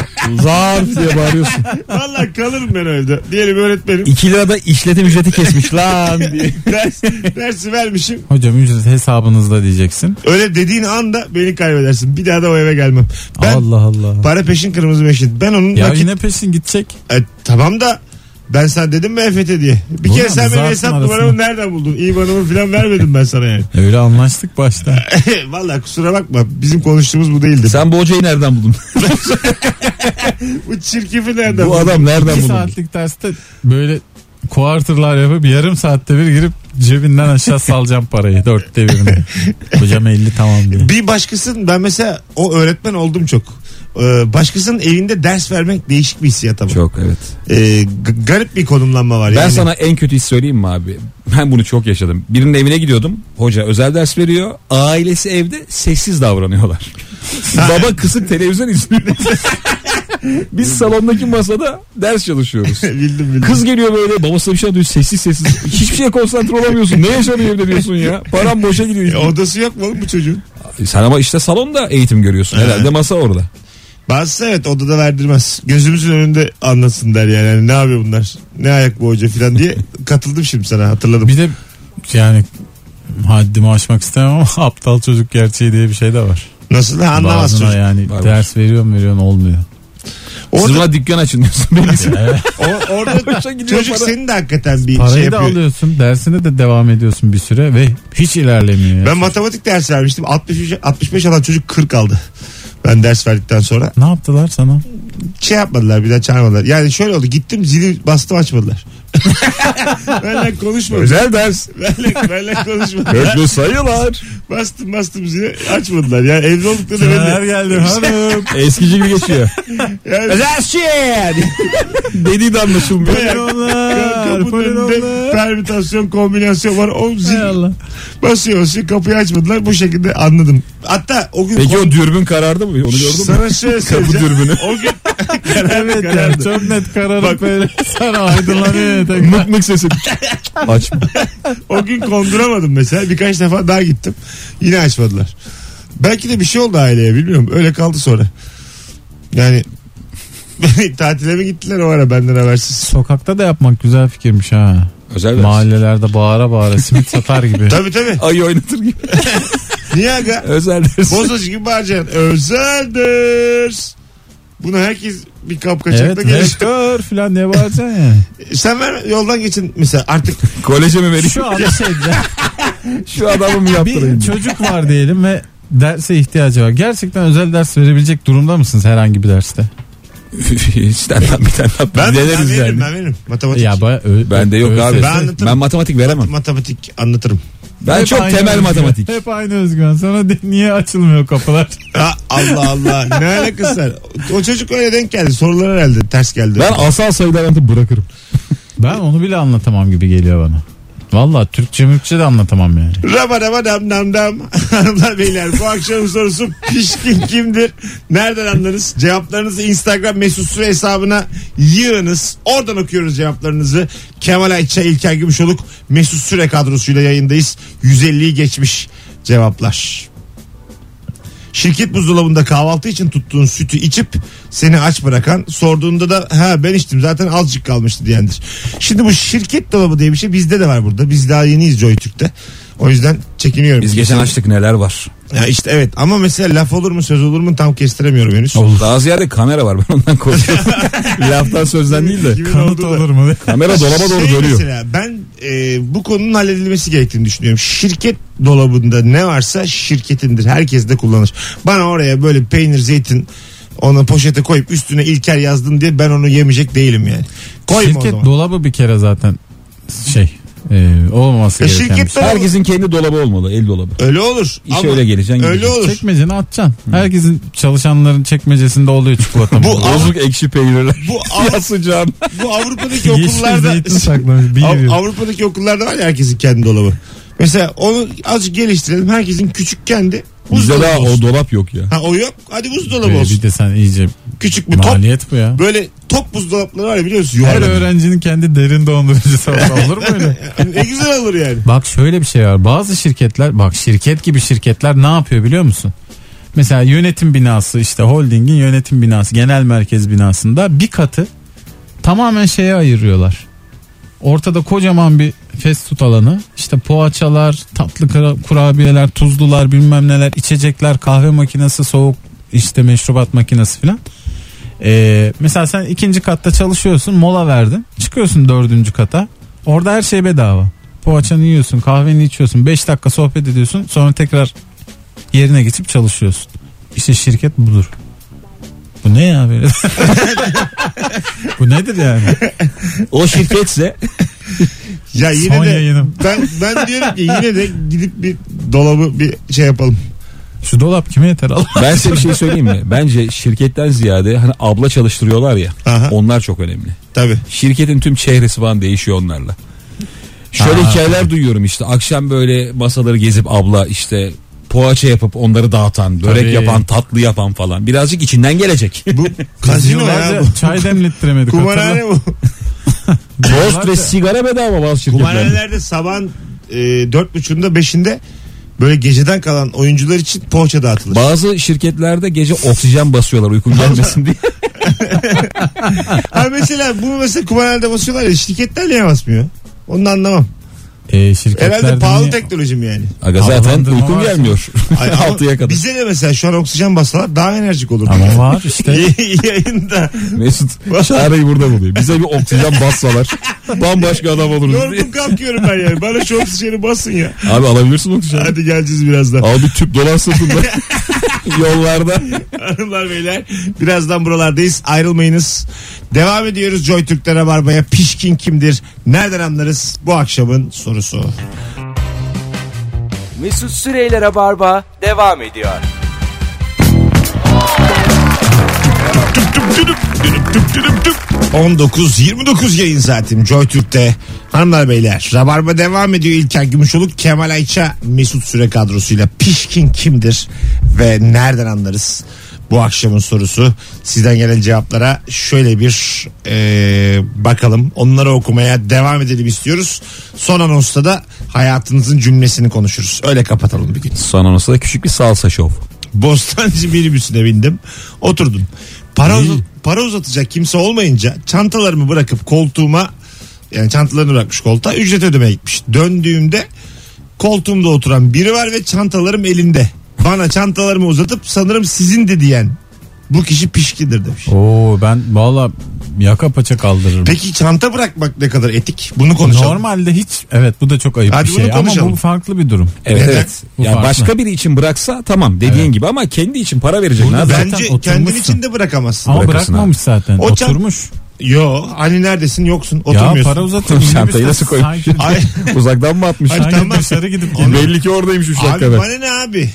Speaker 3: zarf diye bağırıyorsun.
Speaker 2: Vallahi kalırım ben o evde. Diyelim öğretmenim
Speaker 4: 2 lira da işletim ücreti kesmiş lan diye.
Speaker 2: ders, dersi vermişim.
Speaker 3: Hocam ücret hesabınızda diyeceksin.
Speaker 2: Öyle dediğin anda beni kaybedersin. Bir daha da o eve gelmem. Ben
Speaker 3: Allah Allah.
Speaker 2: para peşin kırmızı meşin. Ben onun
Speaker 3: Ya
Speaker 2: nakit...
Speaker 3: yine peşin gidecek.
Speaker 2: E, tamam da ben sana dedim mi EFT diye. Bir
Speaker 3: Ulan
Speaker 2: kere sen benim
Speaker 3: zarfın
Speaker 2: hesap
Speaker 3: arasına.
Speaker 2: numaramı nereden buldun? İBAN'ımı falan vermedim ben sana yani.
Speaker 3: Öyle anlaştık başta.
Speaker 2: Vallahi kusura bakma. Bizim konuştuğumuz bu değildi.
Speaker 4: Sen bu hocayı nereden buldun?
Speaker 2: Bu çirkefi nereden
Speaker 4: bu adam nereden
Speaker 3: bir
Speaker 4: buldun?
Speaker 3: saatlik derste böyle quarterlar yapıp yarım saatte bir girip cebinden aşağı salacağım parayı. Dörtte birini. Hocam 50 tamam diye.
Speaker 2: Bir başkasının ben mesela o öğretmen oldum çok. Ee, başkasının evinde ders vermek değişik bir hissiyat ama.
Speaker 4: Çok evet.
Speaker 2: Ee, g- garip bir konumlanma var
Speaker 4: Ben
Speaker 2: yani.
Speaker 4: sana en kötü his söyleyeyim mi abi? Ben bunu çok yaşadım. Birinin evine gidiyordum. Hoca özel ders veriyor. Ailesi evde sessiz davranıyorlar. Baba kısık televizyon izliyor. Biz salondaki masada ders çalışıyoruz.
Speaker 2: bildim bildim.
Speaker 4: Kız geliyor böyle babasına bir şey anlatıyor sessiz sessiz. Hiçbir şeye konsantre olamıyorsun. Ne yaşanıyor evde diyorsun ya. Param boşa gidiyor.
Speaker 2: E, odası yok mu oğlum bu çocuğun?
Speaker 4: Sen ama işte salonda eğitim görüyorsun. Herhalde masa orada.
Speaker 2: Bazısı evet odada verdirmez. Gözümüzün önünde anlatsın der yani. Hani ne yapıyor bunlar? Ne ayak bu hoca falan diye katıldım şimdi sana hatırladım.
Speaker 3: Bir de yani haddimi aşmak istemem ama aptal çocuk gerçeği diye bir şey de var.
Speaker 2: Nasıl da anlamaz
Speaker 3: Bazına
Speaker 2: çocuk.
Speaker 3: yani
Speaker 4: Var, var.
Speaker 3: ders veriyorum veriyorum olmuyor.
Speaker 4: Siz
Speaker 2: Orada,
Speaker 4: buna dükkan açın diyorsun. Benim
Speaker 2: Şey
Speaker 4: için.
Speaker 2: o- orada
Speaker 4: Boşa gidiyor
Speaker 2: çocuk
Speaker 4: para.
Speaker 2: senin de hakikaten bir
Speaker 3: Parayı
Speaker 2: şey
Speaker 3: da
Speaker 2: yapıyor.
Speaker 3: alıyorsun dersine de devam ediyorsun bir süre ve hiç ilerlemiyor. ya.
Speaker 2: Ben matematik dersi vermiştim. 63, 65 alan çocuk 40 aldı. Ben ders verdikten sonra.
Speaker 3: Ne yaptılar sana?
Speaker 2: şey yapmadılar bir daha çağırmadılar. Yani şöyle oldu gittim zili bastım açmadılar. benle konuşmadılar.
Speaker 4: Özel ders.
Speaker 2: Benle, benle konuşmadılar.
Speaker 4: Köklü sayılar.
Speaker 2: bastım bastım zili açmadılar. Yani evde oldukları da
Speaker 3: Neler
Speaker 2: belli.
Speaker 3: geldi hanım.
Speaker 4: Eskici gibi geçiyor.
Speaker 2: Yani
Speaker 4: Özel şey. Dediği de anlaşılmıyor.
Speaker 3: Polinolar.
Speaker 2: kapının önünde
Speaker 3: Polinolar.
Speaker 2: permütasyon kombinasyon var. O zil
Speaker 3: Hay Allah.
Speaker 2: basıyor basıyor kapıyı açmadılar. Bu şekilde anladım. Hatta o gün
Speaker 4: Peki
Speaker 2: konu-
Speaker 4: o dürbün karardı mı? Onu gördün mü?
Speaker 2: sana şöyle
Speaker 4: Kapı
Speaker 2: söyleyeceğim.
Speaker 4: dürbünü.
Speaker 2: O gün karardı,
Speaker 3: Evet yani
Speaker 2: karardı.
Speaker 3: çok net kararıp
Speaker 2: Bak-
Speaker 3: böyle sana aydınlanıyor. tekrar.
Speaker 4: Mık mık sesi. Açma.
Speaker 2: O gün konduramadım mesela. Birkaç defa daha gittim. Yine açmadılar. Belki de bir şey oldu aileye bilmiyorum. Öyle kaldı sonra. Yani tatile mi gittiler o ara benden habersiz.
Speaker 3: Sokakta da yapmak güzel fikirmiş ha.
Speaker 4: Özel ders.
Speaker 3: Mahallelerde bağıra bağıra simit satar gibi.
Speaker 2: Tabii tabii.
Speaker 4: Ayı oynatır gibi.
Speaker 2: Niye aga?
Speaker 4: Özel ders.
Speaker 2: Bozacı gibi bağıracaksın. Özeldir. Bunu herkes bir kapkaçakta
Speaker 3: evet
Speaker 2: gelir.
Speaker 3: vektör falan diye bağıracaksın ya.
Speaker 2: Sen ver yoldan geçin mesela artık.
Speaker 4: Koleje mi vereyim?
Speaker 3: Şu anda şey
Speaker 4: Şu adamı mı
Speaker 3: bir çocuk var diyelim ve derse ihtiyacı var. Gerçekten özel ders verebilecek durumda mısınız herhangi bir derste?
Speaker 4: Stand up bir tane up.
Speaker 2: Ben, ben
Speaker 4: Deneriz
Speaker 2: veririm
Speaker 4: yani.
Speaker 2: ben veririm. Matematik.
Speaker 3: Ya baya ö-
Speaker 4: Bende yok
Speaker 3: ö-
Speaker 4: abi.
Speaker 2: Ben anlatırım.
Speaker 4: Ben matematik veremem.
Speaker 2: matematik anlatırım.
Speaker 4: Ben
Speaker 3: Hep
Speaker 4: çok
Speaker 3: aynı
Speaker 4: temel
Speaker 3: özgüven.
Speaker 4: matematik.
Speaker 3: Hep aynı özgüven. Sana de- niye açılmıyor kapılar?
Speaker 2: Ha, Allah Allah ne alakası var? O çocuk öyle denk geldi. Sorular herhalde ters geldi.
Speaker 4: Ben asal sayılar anlatıp bırakırım.
Speaker 3: Ben onu bile anlatamam gibi geliyor bana. Valla Türkçe mülkçe de anlatamam yani.
Speaker 2: Raba raba dam dam dam. Hanımlar beyler bu akşamın sorusu pişkin kimdir? Nereden anlarız? Cevaplarınızı Instagram mesut süre hesabına yığınız. Oradan okuyoruz cevaplarınızı. Kemal Ayça, İlker Gümüşoluk mesut süre kadrosuyla yayındayız. 150'yi geçmiş cevaplar. Şirket buzdolabında kahvaltı için tuttuğun sütü içip seni aç bırakan sorduğunda da ha ben içtim zaten azıcık kalmıştı diyendir. Şimdi bu şirket dolabı diye bir şey bizde de var burada. Biz daha yeniyiz Joy Türk'te. O yüzden çekiniyorum.
Speaker 4: Biz geçen açtık neler var.
Speaker 2: Ya işte evet ama mesela laf olur mu söz olur mu tam kestiremiyorum henüz.
Speaker 4: Daha ziyade kamera var. Ben ondan korkuyorum. Laftan sözden değil de.
Speaker 2: Kimin
Speaker 3: Kanıt
Speaker 2: olduğu da-
Speaker 3: olur mu?
Speaker 4: Kamera dolaba doğru
Speaker 2: Şey
Speaker 4: dönüyor.
Speaker 2: mesela ben e, bu konunun halledilmesi gerektiğini düşünüyorum. Şirket dolabında ne varsa şirketindir. Herkes de kullanır. Bana oraya böyle peynir, zeytin Onu poşete koyup üstüne İlker yazdın diye ben onu yemeyecek değilim yani. Koyma o
Speaker 3: Şirket
Speaker 2: zaman.
Speaker 3: dolabı bir kere zaten şey e, olmaması
Speaker 2: E,
Speaker 3: gereken
Speaker 2: şirket
Speaker 3: bir şey.
Speaker 4: Herkesin kendi dolabı olmalı. El dolabı.
Speaker 2: öyle olur.
Speaker 4: İşe
Speaker 2: Ama
Speaker 4: öyle geleceksin.
Speaker 2: Öyle
Speaker 4: gideceksin.
Speaker 2: olur.
Speaker 3: Çekmeceni atacaksın. Herkesin çalışanların çekmecesinde oluyor
Speaker 2: Bu
Speaker 3: çikolata. Burada.
Speaker 4: Bozuk ekşi peynirler.
Speaker 2: Bu, Av-
Speaker 4: Yasacağım.
Speaker 2: bu Avrupa'daki
Speaker 3: Yeşil
Speaker 2: okullarda
Speaker 3: zeytin saklamış. Bir
Speaker 2: Av-
Speaker 3: yıl.
Speaker 2: Avrupa'daki okullarda var ya herkesin kendi dolabı. Mesela onu azıcık geliştirelim. Herkesin küçük kendi
Speaker 4: Bizde
Speaker 2: buzdolabı
Speaker 4: daha o
Speaker 2: olsun.
Speaker 4: dolap yok ya.
Speaker 2: Ha o yok. Hadi buzdolabı
Speaker 3: Ee,
Speaker 2: olsun.
Speaker 3: bir de sen iyice
Speaker 2: Küçük bir top.
Speaker 3: maliyet bu ya.
Speaker 2: Böyle top buzdolapları var ya biliyor musun?
Speaker 3: Her
Speaker 2: Yuvarlak.
Speaker 3: öğrencinin kendi derin dondurucusu var. olur mu öyle?
Speaker 2: ne güzel olur yani.
Speaker 3: Bak şöyle bir şey var. Bazı şirketler bak şirket gibi şirketler ne yapıyor biliyor musun? Mesela yönetim binası işte holdingin yönetim binası genel merkez binasında bir katı tamamen şeye ayırıyorlar. Ortada kocaman bir fast food alanı işte poğaçalar, tatlı kura- kurabiyeler, tuzlular bilmem neler, içecekler, kahve makinesi, soğuk işte meşrubat makinesi filan. Ee, mesela sen ikinci katta çalışıyorsun mola verdin çıkıyorsun dördüncü kata orada her şey bedava poğaçanı yiyorsun kahveni içiyorsun 5 dakika sohbet ediyorsun sonra tekrar yerine geçip çalışıyorsun İşte şirket budur bu ne ya böyle bu nedir yani
Speaker 4: O şirketse
Speaker 2: Ya yine
Speaker 3: Son
Speaker 2: de
Speaker 3: yayınım.
Speaker 2: ben ben diyorum ki yine de gidip bir dolabı bir şey yapalım.
Speaker 3: şu dolap kime yeter Allah
Speaker 4: ben size bir şey söyleyeyim mi? Bence şirketten ziyade hani abla çalıştırıyorlar ya.
Speaker 2: Aha.
Speaker 4: Onlar çok önemli.
Speaker 2: Tabii.
Speaker 4: Şirketin tüm çehresi falan değişiyor onlarla. Şöyle
Speaker 3: Ha.
Speaker 4: hikayeler duyuyorum işte akşam böyle masaları gezip abla işte poğaça yapıp onları dağıtan, börek
Speaker 3: Tabii.
Speaker 4: yapan, tatlı yapan falan. Birazcık içinden gelecek.
Speaker 2: Bu kazino ya
Speaker 3: Yıllarca
Speaker 2: bu.
Speaker 3: çay demlettiremedik
Speaker 2: Kumarhane bu.
Speaker 4: Tost
Speaker 3: Yıllarca-
Speaker 4: ve sigara bedava bazı şirketlerde.
Speaker 2: Kumarhanelerde sabahın e, dört buçuğunda beşinde böyle geceden kalan oyuncular için poğaça dağıtılır.
Speaker 4: Bazı şirketlerde gece oksijen basıyorlar uykun gelmesin diye.
Speaker 2: ha mesela bunu mesela kumarhanede basıyorlar ya şirketler niye basmıyor? Onu da anlamam.
Speaker 3: Ee, şirketlerde
Speaker 2: Herhalde pahalı
Speaker 3: niye-
Speaker 2: teknolojim yani.
Speaker 4: Aga zaten
Speaker 3: Havalandırma
Speaker 4: uykum
Speaker 3: varsa-
Speaker 4: gelmiyor.
Speaker 2: Ay, ama
Speaker 4: 6'ya kadar.
Speaker 2: Bize de mesela şu an oksijen basalar daha enerjik olurdu.
Speaker 3: ama var işte
Speaker 2: Yayında.
Speaker 4: Mesut çareyi burada buluyor. Bize bir oksijen bassalar bambaşka adam oluruz diye.
Speaker 2: Yorgun kalkıyorum ben yani. Bana şu oksijeni basın ya.
Speaker 4: Abi alabilirsin oksijen.
Speaker 2: Hadi geleceğiz birazdan.
Speaker 4: Al bir tüp dolar sırtında. Yollarda.
Speaker 2: Hanımlar beyler birazdan buralardayız ayrılmayınız. Devam ediyoruz Joy Türk'te Rabarba'ya pişkin kimdir? Nereden anlarız bu akşamın sorusu.
Speaker 1: Mesut Süreyler'e barba devam ediyor.
Speaker 2: Tüp tüp tüdüp, tüdüp tüp tüdüp tüp. 19-29 yayın saatim Joy Türk'te. Hanımlar beyler Rabarba devam ediyor İlker Gümüşoluk Kemal Ayça Mesut Süre kadrosuyla Pişkin kimdir ve nereden anlarız bu akşamın sorusu sizden gelen cevaplara şöyle bir e, bakalım onları okumaya devam edelim istiyoruz son anonsta da hayatınızın cümlesini konuşuruz öyle kapatalım bir gün
Speaker 4: Son anonsa da küçük bir salsa şov.
Speaker 2: Bostancı minibüsüne bindim. Oturdum. Para, uza- para uzatacak kimse olmayınca çantalarımı bırakıp koltuğuma yani çantalarını bırakmış koltuğa ücret ödemeye gitmiş. Döndüğümde koltuğumda oturan biri var ve çantalarım elinde. Bana çantalarımı uzatıp sanırım sizin de diyen bu kişi pişkindir demiş.
Speaker 3: Oo ben valla yaka paça kaldırırım.
Speaker 2: Peki çanta bırakmak ne kadar etik? Bunu konuşalım.
Speaker 3: Normalde hiç evet bu da çok ayıp
Speaker 2: Hadi
Speaker 3: bir
Speaker 2: bunu
Speaker 3: şey ama
Speaker 2: konuşalım.
Speaker 3: bu farklı bir durum.
Speaker 4: Evet
Speaker 2: Neden?
Speaker 4: evet.
Speaker 3: Bu
Speaker 4: Yani
Speaker 3: farklı.
Speaker 4: başka biri için bıraksa tamam dediğin
Speaker 3: Evet.
Speaker 4: gibi ama kendi için para verecek.
Speaker 3: Burada
Speaker 4: ne yapacak?
Speaker 2: Bence
Speaker 3: Zaten
Speaker 2: kendin
Speaker 3: oturmuşsun.
Speaker 2: için de bırakamazsın.
Speaker 3: Ama
Speaker 4: Bırakırsın
Speaker 3: bırakmamış zaten.
Speaker 2: O çan-
Speaker 3: Oturmuş.
Speaker 2: Yo hani neredesin yoksun
Speaker 3: Ya
Speaker 2: oturmuyorsun.
Speaker 3: para uzatır.
Speaker 4: Çantayı nasıl koymuş?
Speaker 3: Sanki,
Speaker 2: Ay-
Speaker 4: Uzaktan mı atmış? E,
Speaker 2: Hayır,
Speaker 3: sanki
Speaker 2: tamam.
Speaker 3: dışarı gidip
Speaker 4: Belli ki oradaymış 3
Speaker 2: Abi
Speaker 4: dakikada.
Speaker 2: bana ne abi?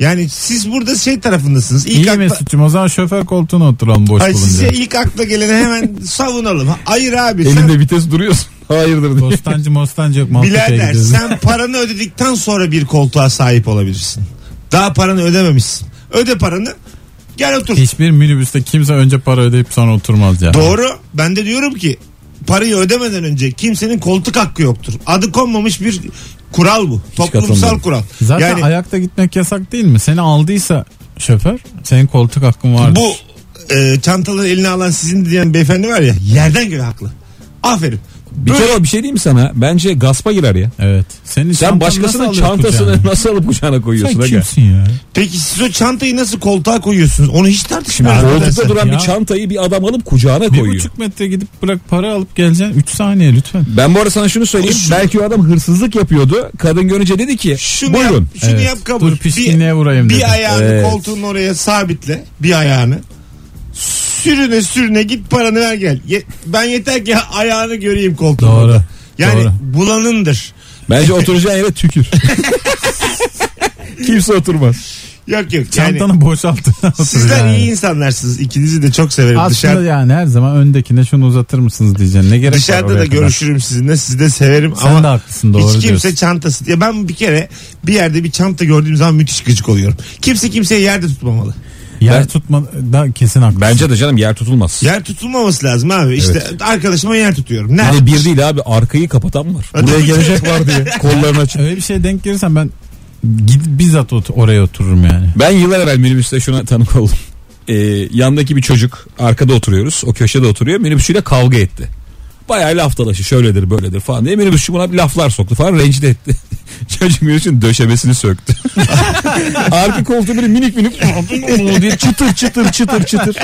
Speaker 2: Yani siz burada şey tarafındasınız. İlk
Speaker 3: İyi
Speaker 2: akla-
Speaker 3: Mesut'cum o zaman şoför koltuğuna oturalım boş
Speaker 2: Ay size
Speaker 3: bulunca.
Speaker 2: ilk akla geleni hemen savunalım. Hayır abi sen
Speaker 4: Elinde vites duruyorsun. Hayırdır diye.
Speaker 3: Bostancı mostancı yok Maltepe'ye
Speaker 2: birader
Speaker 3: gidiyoruz.
Speaker 2: sen paranı ödedikten sonra bir koltuğa sahip olabilirsin. Daha paranı ödememişsin. Öde paranı gel otur.
Speaker 3: Hiçbir minibüste kimse önce para ödeyip sonra oturmaz ya.
Speaker 2: Doğru. Ben de diyorum ki parayı ödemeden önce kimsenin koltuk hakkı yoktur. Adı konmamış bir kural bu. Toplumsal
Speaker 4: katılmıyorum.
Speaker 2: kural.
Speaker 3: Zaten
Speaker 2: yani
Speaker 3: ayakta gitmek yasak değil mi? Seni aldıysa şoför senin koltuk hakkın vardır.
Speaker 2: bu e, çantaları eline alan sizin diyen beyefendi var ya yerden göre haklı. Aferin.
Speaker 4: Bir kere o bir şey diyeyim mi sana? Bence gaspa girer ya.
Speaker 3: Evet. Senin
Speaker 4: Sen
Speaker 3: çantanı
Speaker 4: başkasının
Speaker 3: nasıl alıyor
Speaker 4: çantasını
Speaker 3: kucağına?
Speaker 4: nasıl alıp kucağına koyuyorsun?
Speaker 3: Sen
Speaker 4: aga?
Speaker 3: kimsin ya?
Speaker 2: Peki siz o çantayı nasıl koltuğa koyuyorsunuz? Onu hiç tartışmıyoruz.
Speaker 4: Koltukta
Speaker 2: nedense.
Speaker 4: duran bir
Speaker 3: Ya.
Speaker 4: çantayı bir adam alıp kucağına
Speaker 3: Bir
Speaker 4: koyuyor.
Speaker 3: buçuk metre gidip bırak para alıp geleceksin. Üç saniye lütfen.
Speaker 4: Ben bu arada sana şunu söyleyeyim.
Speaker 2: Şu-
Speaker 4: Belki o adam hırsızlık yapıyordu. Kadın görünce dedi ki
Speaker 2: Şunu
Speaker 4: buyurun.
Speaker 2: yap, şunu
Speaker 3: Evet.
Speaker 2: yap kabul.
Speaker 3: Dur pişkinliğe vurayım
Speaker 2: bir,
Speaker 3: dedi.
Speaker 2: bir ayağını
Speaker 4: Evet.
Speaker 2: koltuğun oraya sabitle. Bir ayağını. sürüne sürüne git paranı ver gel. Ye- ben yeter ki ayağını göreyim koltuğun.
Speaker 3: Doğru.
Speaker 2: Yani
Speaker 3: Doğru.
Speaker 2: bulanındır.
Speaker 4: Bence oturacağın yere tükür. Kimse oturmaz.
Speaker 2: Yok yok. Yani
Speaker 3: Çantanı boşaltın.
Speaker 2: sizler
Speaker 3: yani.
Speaker 2: iyi insanlarsınız. İkinizi de çok severim.
Speaker 3: Aslında
Speaker 2: Dışarı-
Speaker 3: yani her zaman öndekine şunu uzatır mısınız diyeceksin. Ne gerek var
Speaker 2: Dışarıda
Speaker 3: oraya
Speaker 2: da
Speaker 3: kadar?
Speaker 2: görüşürüm sizinle. Sizi de severim
Speaker 3: Sen
Speaker 2: ama
Speaker 3: de haklısın, doğru
Speaker 2: hiç kimse
Speaker 3: diyorsun.
Speaker 2: çantası. Ya ben bir kere bir yerde bir çanta gördüğüm zaman müthiş gıcık oluyorum. Kimse kimseyi yerde tutmamalı.
Speaker 3: Yer
Speaker 4: Ben-
Speaker 3: tutma da kesin haklısın.
Speaker 4: Bence de canım yer tutulmaz.
Speaker 2: Yer tutulmaması lazım abi. İşte arkadaşıma yer tutuyorum. Nerede?
Speaker 4: Yani Hani bir değil abi arkayı kapatan var. Buraya gelecek var diye kollarını açıp.
Speaker 3: Öyle bir şeye denk gelirsen ben gid, bizzat ot- oraya otururum yani.
Speaker 4: Ben yıllar evvel minibüste şuna tanık oldum. Ee, yandaki bir çocuk arkada oturuyoruz. O köşede oturuyor. Minibüsçüyle kavga etti. Bayağı laf dalaşı şöyledir böyledir falan diye minibüsçü buna bir laflar soktu falan rencide etti. Çocuk minibüsün döşemesini söktü. Arka koltuğu böyle minik minik diye çıtır çıtır çıtır çıtır.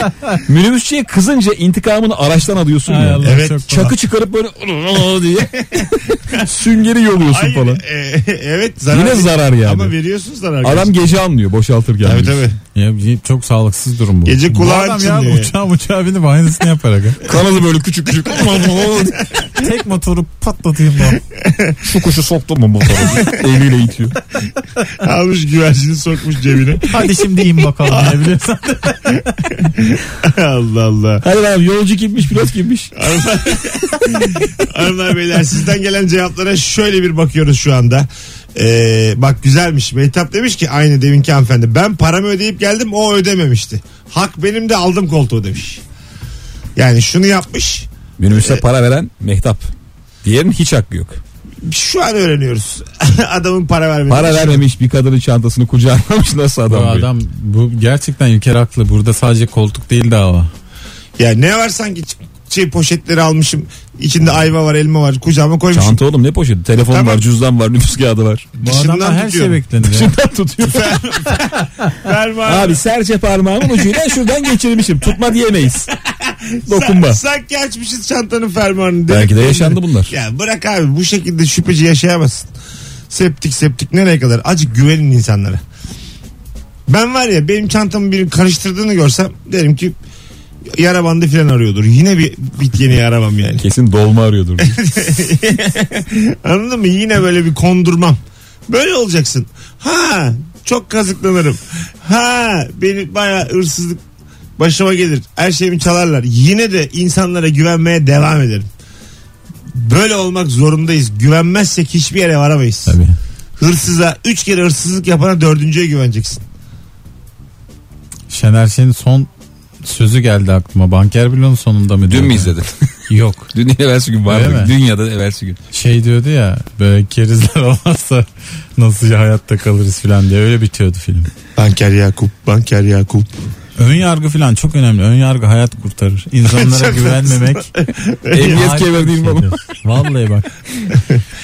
Speaker 4: Minibüsçüye kızınca intikamını araçtan alıyorsun
Speaker 3: Hay
Speaker 4: ya.
Speaker 3: Allah,
Speaker 2: Evet,
Speaker 3: çok
Speaker 4: Çakı çıkarıp böyle diye süngeri yoluyorsun
Speaker 2: Hayır,
Speaker 4: falan.
Speaker 2: e, evet zarar.
Speaker 4: Yine zarar yani.
Speaker 2: Ama veriyorsun zarar.
Speaker 4: Adam gece anlıyor boşaltırken.
Speaker 2: Tabii tabii.
Speaker 3: Ya bir- çok sağlıksız durum bu.
Speaker 2: Gece
Speaker 3: bu
Speaker 2: kulağın
Speaker 3: adam ya
Speaker 2: çınlıyor.
Speaker 3: uçağa uçağa binip aynısını yaparak.
Speaker 4: Kanalı böyle küçük küçük.
Speaker 3: Tek motoru patlatayım ben.
Speaker 4: Şu kuşu soktu mu motora? Eliyle itiyor.
Speaker 2: Almış güvercini sokmuş cebine.
Speaker 3: Hadi şimdi in bakalım diyebiliyorsan.
Speaker 2: Allah Allah.
Speaker 4: Hadi abi yolcu kimmiş pilot kimmiş.
Speaker 2: Hanımlar beyler sizden gelen cevaplara şöyle bir bakıyoruz şu anda. Ee, bak güzelmiş. Mehtap demiş ki aynı deminki hanımefendi. Ben paramı ödeyip geldim o ödememişti. Hak benim de aldım koltuğu demiş. Yani şunu yapmış.
Speaker 4: Minibüse para veren Mehtap. Diğerinin hiç hakkı yok.
Speaker 2: Şu an öğreniyoruz. Adamın para vermediğini.
Speaker 4: Para vermemiş bir kadının çantasını kucağına nasıl
Speaker 3: Bu
Speaker 4: adam, bu?
Speaker 3: adam bu gerçekten İlker haklı. Burada sadece koltuk değil dava.
Speaker 2: Ya ne var sanki ç- şey poşetleri almışım. İçinde ayva var, elma var. Kucağıma koymuşum.
Speaker 4: Çanta oğlum ne poşeti? Telefon
Speaker 2: Tamam.
Speaker 4: var, cüzdan var, nüfus kağıdı var.
Speaker 3: Bu
Speaker 2: Dışından
Speaker 3: adamdan her şey
Speaker 2: tutuyorum.
Speaker 3: beklenir. ya.
Speaker 4: Şuradan tutuyor.
Speaker 2: Fermuar.
Speaker 4: abi serçe parmağımın ucuyla şuradan geçirmişim. Tutma diyemeyiz. Dokunma.
Speaker 2: Sa- sanki açmışız çantanın fermuarını. Dedik
Speaker 4: Belki de
Speaker 2: mi?
Speaker 4: yaşandı bunlar.
Speaker 2: Ya bırak abi bu şekilde şüpheci yaşayamazsın. Septik septik nereye kadar? Acık güvenin insanlara. Ben var ya benim çantamı birinin karıştırdığını görsem derim ki yara bandı falan arıyordur. Yine bir bit yeni aramam yani.
Speaker 4: Kesin dolma arıyordur.
Speaker 2: Anladın mı? Yine böyle bir kondurmam. Böyle olacaksın. Ha çok kazıklanırım. Ha beni baya hırsızlık başıma gelir. Her şeyimi çalarlar. Yine de insanlara güvenmeye devam ederim. Böyle olmak zorundayız. Güvenmezsek hiçbir yere varamayız.
Speaker 3: Tabii.
Speaker 2: Hırsıza üç kere hırsızlık yapana dördüncüye güveneceksin.
Speaker 3: Şener Şen'in son sözü geldi aklıma. Banker Bilo'nun sonunda mı?
Speaker 4: Dün
Speaker 3: diyordu?
Speaker 4: mü izledin?
Speaker 3: Yok.
Speaker 4: Dün evvelsi gün
Speaker 3: Öyle
Speaker 4: vardı.
Speaker 3: mi?
Speaker 4: Dün ya da evvelsi gün.
Speaker 3: Şey diyordu ya böyle kerizler olmazsa nasıl ya hayatta kalırız filan diye öyle bitiyordu film.
Speaker 2: Banker Yakup, Banker Yakup.
Speaker 3: Ön yargı filan çok önemli. Ön yargı hayat kurtarır. İnsanlara
Speaker 2: Çok
Speaker 3: güvenmemek.
Speaker 4: Emniyet kemerliyim baba.
Speaker 3: baba. Vallahi bak.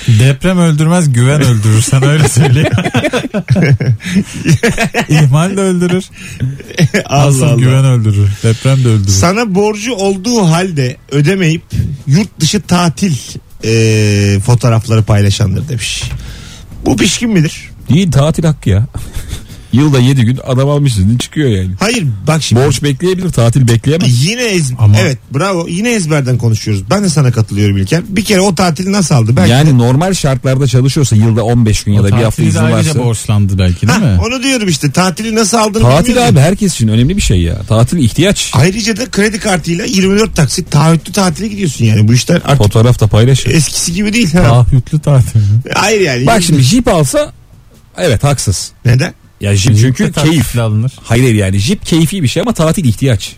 Speaker 3: Deprem öldürmez güven öldürür. Sana öyle söyleyeyim. İhmal de öldürür.
Speaker 2: Allah
Speaker 3: Asıl
Speaker 2: Allah.
Speaker 3: güven öldürür. Deprem de öldürür.
Speaker 2: Sana borcu olduğu halde ödemeyip yurt dışı tatil e, fotoğrafları paylaşandır demiş. Bu pişkin midir?
Speaker 4: Değil tatil hakkı ya. Yılda 7 gün adam almışsın çıkıyor yani.
Speaker 2: Hayır bak şimdi
Speaker 4: Borç bekleyebilir tatil bekleyemez.
Speaker 2: yine ez-
Speaker 3: Ama-
Speaker 2: evet bravo yine ezberden konuşuyoruz. Ben de sana katılıyorum İlker. Bir kere o tatili nasıl aldı? Belki
Speaker 4: Yani normal şartlarda çalışıyorsa yılda 15 gün ya da bir hafta
Speaker 3: Tatili de
Speaker 4: izin
Speaker 3: ayrıca
Speaker 4: varsa.
Speaker 3: borçlandı belki değil
Speaker 2: Ha,
Speaker 3: mi?
Speaker 2: onu diyorum işte tatili nasıl aldığını
Speaker 4: Tatil
Speaker 2: bilmiyorum.
Speaker 4: abi herkes için önemli bir şey ya. Tatil ihtiyaç.
Speaker 2: Ayrıca da kredi kartıyla 24 taksit taahhütlü tatile gidiyorsun yani. Bu işler artık
Speaker 4: Fotoğraf da paylaş.
Speaker 2: eskisi gibi değil. Ha.
Speaker 3: Taahhütlü tatil. mi?
Speaker 2: Hayır yani.
Speaker 4: Bak şimdi jip alsa evet haksız.
Speaker 2: Neden?
Speaker 4: Ya jip çünkü
Speaker 3: Jipte taksitle
Speaker 4: keyif.
Speaker 3: alınır.
Speaker 4: Hayır hayır yani jip keyfi bir şey ama tatil ihtiyaç.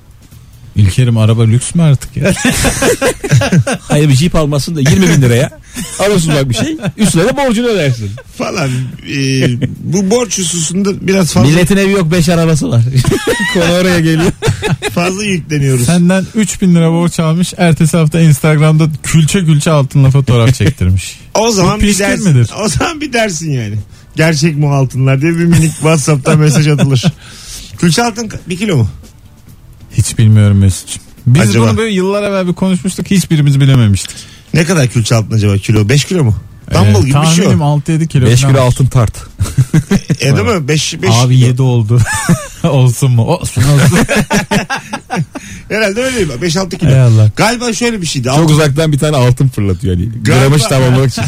Speaker 3: İlkerim araba lüks mü artık ya?
Speaker 4: Hayır bir jip almasın da 20 bin liraya alırsın bak bir şey üstüne de borcunu ödersin.
Speaker 2: Falan. e, bu borç hususunda biraz fazla,
Speaker 4: Milletin evi yok 5 arabası var. Konu oraya geliyor.
Speaker 2: fazla yükleniyoruz.
Speaker 3: Senden 3000 lira borç almış. Ertesi hafta Instagram'da külçe külçe altınla fotoğraf çektirmiş.
Speaker 2: O zaman
Speaker 3: Bu
Speaker 2: bir
Speaker 3: pişkin
Speaker 2: dersin.
Speaker 3: midir?
Speaker 2: O zaman bir dersin yani. Gerçek mu altınlar diye bir minik WhatsApp'tan mesaj atılır. Külçe altın bir kilo mu?
Speaker 3: Hiç bilmiyorum Mesut'cum. Biz
Speaker 2: Acaba?
Speaker 3: bunu böyle yıllar evvel bir konuşmuştuk. Hiçbirimiz bilememiştik.
Speaker 2: Ne kadar külçe altın acaba? Kilo? 5 kilo mu? Dumbbell
Speaker 3: Ee,
Speaker 2: gibi bir şey o.
Speaker 3: Tahminim 6-7 kilo.
Speaker 4: 5
Speaker 3: falan.
Speaker 4: kilo altın tart.
Speaker 2: E değil mi? 5 5
Speaker 3: Abi 7 oldu. olsun mu? Olsun olsun.
Speaker 2: Herhalde öyle 5-6 kilo.
Speaker 3: Ey Allah.
Speaker 2: Galiba şöyle bir şeydi.
Speaker 4: Çok uzaktan bir tane altın fırlatıyor hani. Gramaj tamamlamak için.